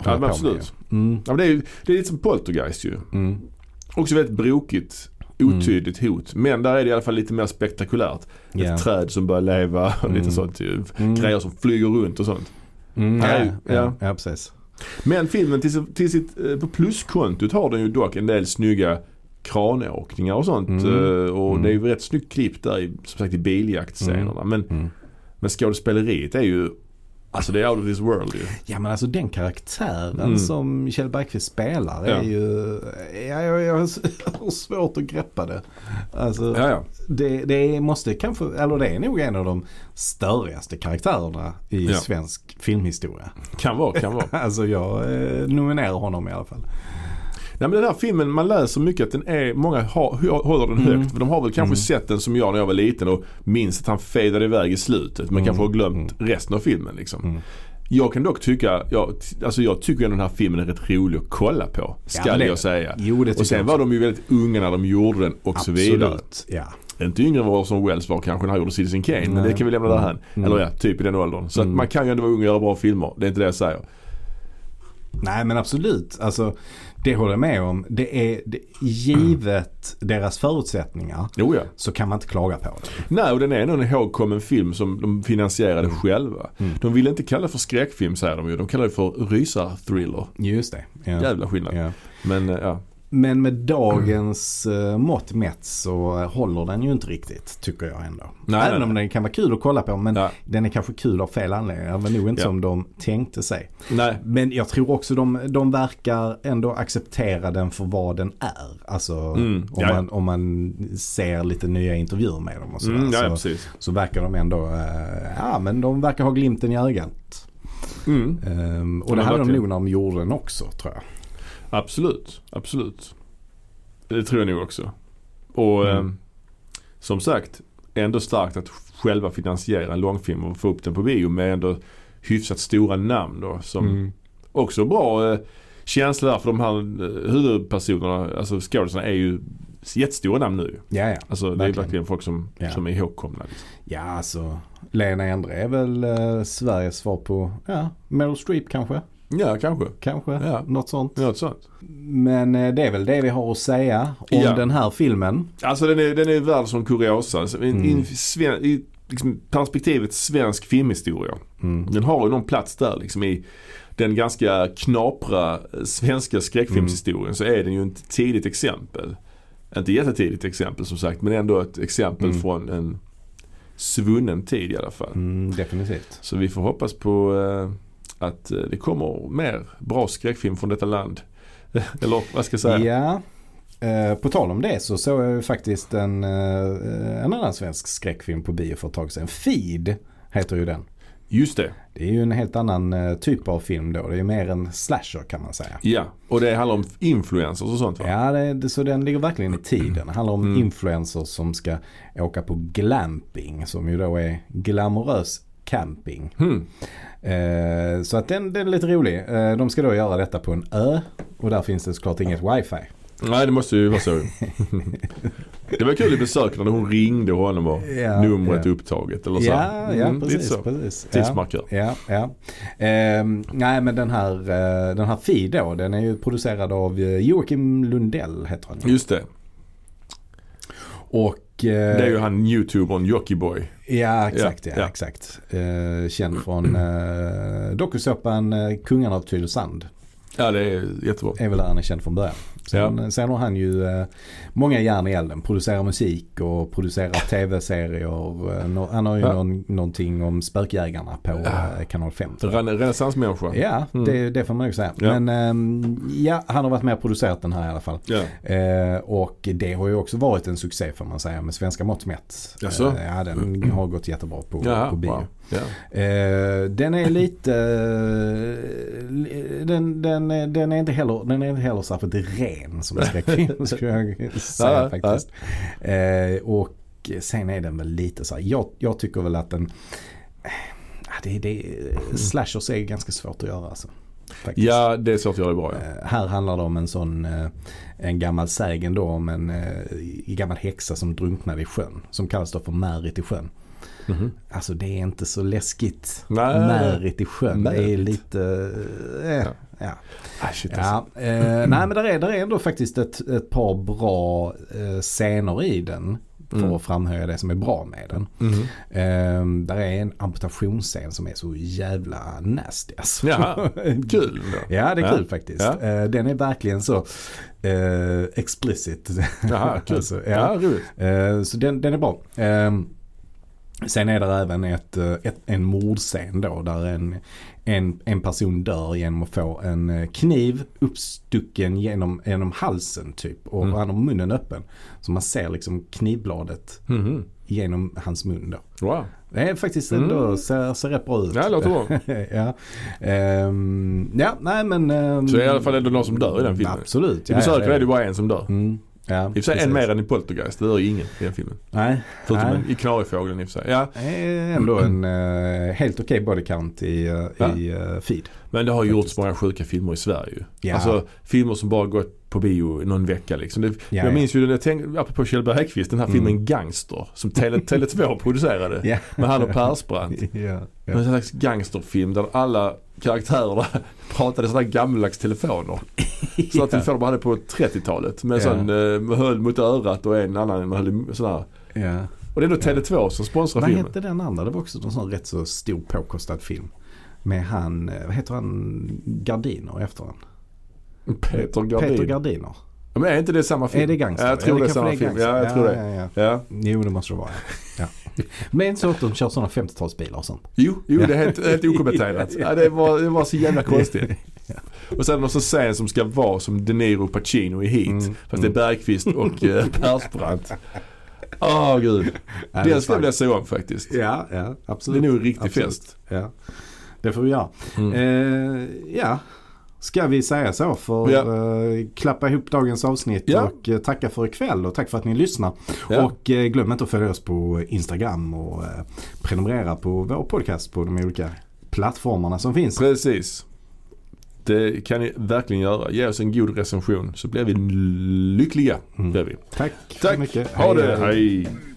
A: Ja, men absolut.
B: Mm.
A: Ja, men det, är, ju- det är lite som poltergeist ju. Också väldigt brokigt,
B: Mm.
A: otydligt hot. Men där är det i alla fall lite mer spektakulärt.
B: Ja.
A: Ett träd som börjar leva och lite sånt ju. Grejer som flyger runt och sånt.
B: Mm,
A: Ja,
B: ja,
A: ja.
B: ja. Ja, precis.
A: Men filmen till, si- till sitt, eh, på pluskontot har den ju dock en del snygga kranåkningar och sånt. eh, Och det är ju rätt snyggt klipp där i, som sagt i biljaktscenerna. Men, men skådespeleriet är ju, alltså det är out of this world ju.
B: Ja men alltså den karaktären som Kjell Bergqvist spelar är
A: Mm. Ja.
B: ju... Ja, jag, jag har svårt att greppa det. Alltså,
A: Ja, ja.
B: Det, det måste kanske, eller det är nog en av de störigaste karaktärerna i
A: Ja.
B: svensk filmhistoria.
A: Kan vara, kan vara.
B: Alltså jag eh, nominerar honom i alla fall.
A: Nej men den här filmen, man läser mycket att den är, många har, hå- håller den
B: Mm.
A: högt. För de har väl kanske sett den som jag när jag var liten och minns att han fejdade iväg i slutet.
B: Mm.
A: Men kanske har glömt resten av filmen liksom. Jag kan dock tycka, jag, alltså jag tycker ändå den här filmen är rätt rolig att kolla på. Ska
B: men det-
A: jag säga.
B: Jo, det tycker
A: och sen
B: jag
A: var de ju väldigt unga när de gjorde den och så vidare.
B: Ja.
A: Inte yngre än vad som Wells var kanske när han gjorde Citizen Kane. Men det kan vi lämna därhän.
B: Mm.
A: Eller ja, typ i den åldern. Så att man kan ju ändå vara ung och göra bra filmer. Det är inte det jag säger.
B: Nej men absolut. Alltså, det håller jag med om. Det är det, givet deras förutsättningar
A: Jo, ja.
B: så kan man inte klaga på det.
A: Nej, och den är ändå en ihågkommen film som de finansierade själva. De ville inte kalla det för skräckfilm säger de ju. De kallar det för rysarthriller.
B: Just det. Ja.
A: Jävla skillnad.
B: Ja.
A: Men eh, ja.
B: Men med dagens eh, mått mätt så håller den ju inte riktigt tycker jag ändå.
A: Nej,
B: Även
A: nej,
B: om den kan vara kul att kolla på men
A: Ja.
B: den är kanske kul av fel anledningar. Den var nog inte
A: Ja.
B: som de tänkte sig.
A: Nej.
B: Men jag tror också de, de verkar ändå acceptera den för vad den är. Alltså
A: Mm,
B: om,
A: ja, ja.
B: man, om man ser lite nya intervjuer med dem och sådär.
A: Mm, ja, ja,
B: så,
A: precis.
B: så verkar de ändå, eh, ja men de verkar ha glimten i ögat.
A: Mm.
B: Ehm, och
A: Ja,
B: det
A: men
B: hade de
A: verkligen.
B: nog när de gjorde den också tror jag.
A: Absolut. Absolut. Det tror jag nog också. Och
B: Mm.
A: eh, som sagt, ändå starkt att själva finansiera en långfilm och få upp den på bio med ändå hyfsat stora namn då. Som
B: Mm.
A: också bra eh, känsla där för de här eh, huvudpersonerna, alltså skådisarna är ju jättestora namn nu.
B: Ja, ja.
A: Alltså det är
B: Verkligen.
A: verkligen folk som,
B: Ja.
A: som är ihågkomna. Liksom.
B: Ja, alltså Lena Endre är väl eh, Sveriges svar på ja, Meryl Streep kanske.
A: Ja, kanske.
B: Kanske,
A: Ja.
B: något sånt.
A: Något sånt.
B: Men eh, det är väl det vi har att säga om
A: Ja.
B: den här filmen.
A: Alltså den är, den är värd som kuriosa. Alltså, i-
B: Mm.
A: i, sven, i liksom, perspektivet svensk filmhistoria.
B: Mm.
A: Den har ju någon plats där liksom i den ganska knapra eh, svenska skräckfilmshistorien
B: Mm.
A: så är den ju ett tidigt exempel. Inte jättetidigt exempel som sagt men ändå ett exempel från en svunnen tid i alla fall.
B: Mm, definitivt.
A: Så vi får hoppas på eh, att eh, det kommer mer bra skräckfilm från detta land. Eller vad ska jag säga?
B: Ja. Eh, på tal om det så såg jag ju faktiskt en, eh, en annan svensk skräckfilm på bio för ett tag sedan. Feed heter ju den.
A: Just det.
B: Det är ju en helt annan eh, typ av film då. Det är ju mer en slasher kan man säga.
A: Ja, och det handlar om influencers och sånt va?
B: Ja, det, det, så den ligger verkligen i tiden. Det handlar om
A: Mm.
B: influencers som ska åka på glamping som ju då är glamorös camping.
A: Mm.
B: Eh, så att den, den är lite rolig. Eh, de ska då göra detta på en ö och där finns det såklart inget wifi.
A: Nej, det måste ju vara så. det var kul i besökarna när hon ringde honom och
B: Ja,
A: numret
B: ja.
A: upptaget eller så.
B: Ja, ja
A: Mm, lite
B: precis.
A: så.
B: precis.
A: Tidsmarkör.
B: Ja, ja, ja. Eh, nej men den här, eh, den här Fi då, den är ju producerad av eh, Joakim Lundell heter han. ju.
A: Just det.
B: Och, eh,
A: Mm. Det är ju han youtubern Jockiboi.
B: Ja, exakt.
A: Ja,
B: Ja,
A: ja.
B: exakt. Eh, känd från eh, dokusåpan eh, Kungarna av Tylösand.
A: Ja, det är jättebra.
B: Är väl där han är känd från början. Sen, sen har han ju eh, många järn i elden. Producerar musik och producerar tv-serier. Eh, nå- han har ju
A: Ja. Ah.
B: någon, någonting om Spökjägarna på eh, Kanal 5. tror jag.
A: Ren- Renässansmänniska.
B: Ja, det, det får man nog säga.
A: Mm. Ja.
B: Men ehm, ja, han har varit med och producerat den här i alla fall.
A: Ja.
B: Eh, och det har ju också varit en succé får man säga med svenska mått mätt.
A: Jaså? Mm.
B: Eh, ja, den har gått jättebra på,
A: Jaha,
B: på bio.
A: wow. Ja.
B: Eh, den är lite... eh, den, den, är- den, är inte heller, den är inte heller särskilt ren som en skräckfilm skulle jag säga
A: Ja, ja.
B: faktiskt. Eh, och sen är den väl lite så här. Jag, jag tycker väl att den... Ah, Det, det, slashers är ganska svårt att göra alltså. Faktiskt.
A: ja, det är svårt att göra det bra. Ja.
B: Eh, Här handlar det om en sån eh, en gammal sägen då om en eh, gammal häxa som drunknade i sjön. Som kallas då för Märit i sjön. Alltså det är inte så läskigt.
A: Mhm. Nej.
B: Märit i sjön. Det är
A: Märit.
B: lite... Eh, ja. Ja.
A: Ah, shit, alltså.
B: Ja, eh, nej men där är, där är ändå faktiskt ett, ett par bra eh, scener i den. För
A: Mm.
B: att framhöja det som är bra med den. Eh, där är en amputationsscen som är så jävla nasty alltså.
A: Jaha, kul.
B: Ja det är kul faktiskt.
A: Ja.
B: Eh, Den är verkligen så eh, explicit.
A: Jaha, kul.
B: Alltså, ja.
A: ja. roligt.
B: Eh, så den, den är bra. Eh, sen är det även ett, eh, ett, en mordscen då där en, en, en person dör genom att få en eh, kniv uppstucken genom, genom halsen typ. Och
A: Mm.
B: han har munnen öppen. Så man ser liksom knivbladet
A: Mhm.
B: genom hans mun då.
A: Wow.
B: Det är faktiskt ändå, ser, ser rätt bra
A: Mm.
B: ut.
A: Ja, det låter bra.
B: ja. Ehm, ja, nej men. ehm,
A: Så det är i alla fall ändå någon som dör i den filmen.
B: Absolut.
A: I besökare är det ju bara en som dör.
B: Mm, ja,
A: I och för sig en
B: precis.
A: mer än i Poltergeist. Det dör ju ingen i den filmen.
B: Nej.
A: Förutom
B: nej.
A: en, i Kanariefågeln i och för sig. Ja,
B: Det är ändå en eh, helt okej body count i, eh,
A: Ja.
B: i eh, feed.
A: men det har ju gjorts många sjuka filmer i Sverige ju.
B: Ja.
A: Alltså filmer som bara gått på bio i någon vecka liksom. Det,
B: ja. Mm.
A: jag minns ju, den, jag tänkte, apropå Kjell Bergqvist, den här filmen Gangster som Tele- Tele2 producerade.
B: Ja.
A: Med han och Persbrandt.
B: ja,
A: Det var en slags gangsterfilm där alla karaktärer pratade sådana här gammaldags telefoner. Sådana telefoner man hade på 30-talet. Med en
B: Ja.
A: sån eh, med höll mot örat och en annan höll i sån här.
B: ja.
A: Och det är då Tele2 som sponsrar
B: Vad
A: filmen.
B: hette den andra? Det var också en sån rätt så stor påkostad film. Med han, eh, vad heter han, Gardiner efter han?
A: Peter Gardin.
B: Peter Gardiner.
A: Ja, men är inte det samma film?
B: Är det Gangster?
A: Ja, jag tror
B: Eller
A: det är
B: kanske
A: samma
B: det är
A: film.
B: Gangster?
A: Ja, jag tror
B: Ja,
A: det.
B: ja,
A: Ja.
B: Jo, det måste det vara. Ja. Men det är inte så att de kör sådana 50-talsbilar och sånt.
A: Jo, jo, det är helt, helt okommenterat. Ja, det, var, det var så jävla konstigt. Och sen någon som säger som ska vara som De Niro och Pacino i Heat.
B: Mm,
A: Fast det är Bergqvist och eh, Persbrandt. Åh gud.
B: Ja, det
A: Den
B: är
A: skulle jag
B: sant.
A: vilja se om faktiskt.
B: Ja, ja
A: Det är
B: absolut.
A: nog en riktig
B: Absolut.
A: fest. Mm.
B: Ja. Det får vi göra. Eh, ja. Ska vi säga så för att
A: Ja.
B: eh, klappa ihop dagens avsnitt
A: Ja.
B: och eh, tacka för ikväll och tack för att ni lyssnar.
A: Ja.
B: Och eh, glöm inte att följa oss på Instagram och eh, prenumerera på vår podcast på de olika plattformarna som finns.
A: Precis. Det kan ni verkligen göra. Ge oss en god recension så blir vi lyckliga. Blir vi.
B: Mm. Tack, så
A: Tack.
B: mycket.
A: Ha
B: Hej,
A: det.
B: hej.
A: Hej.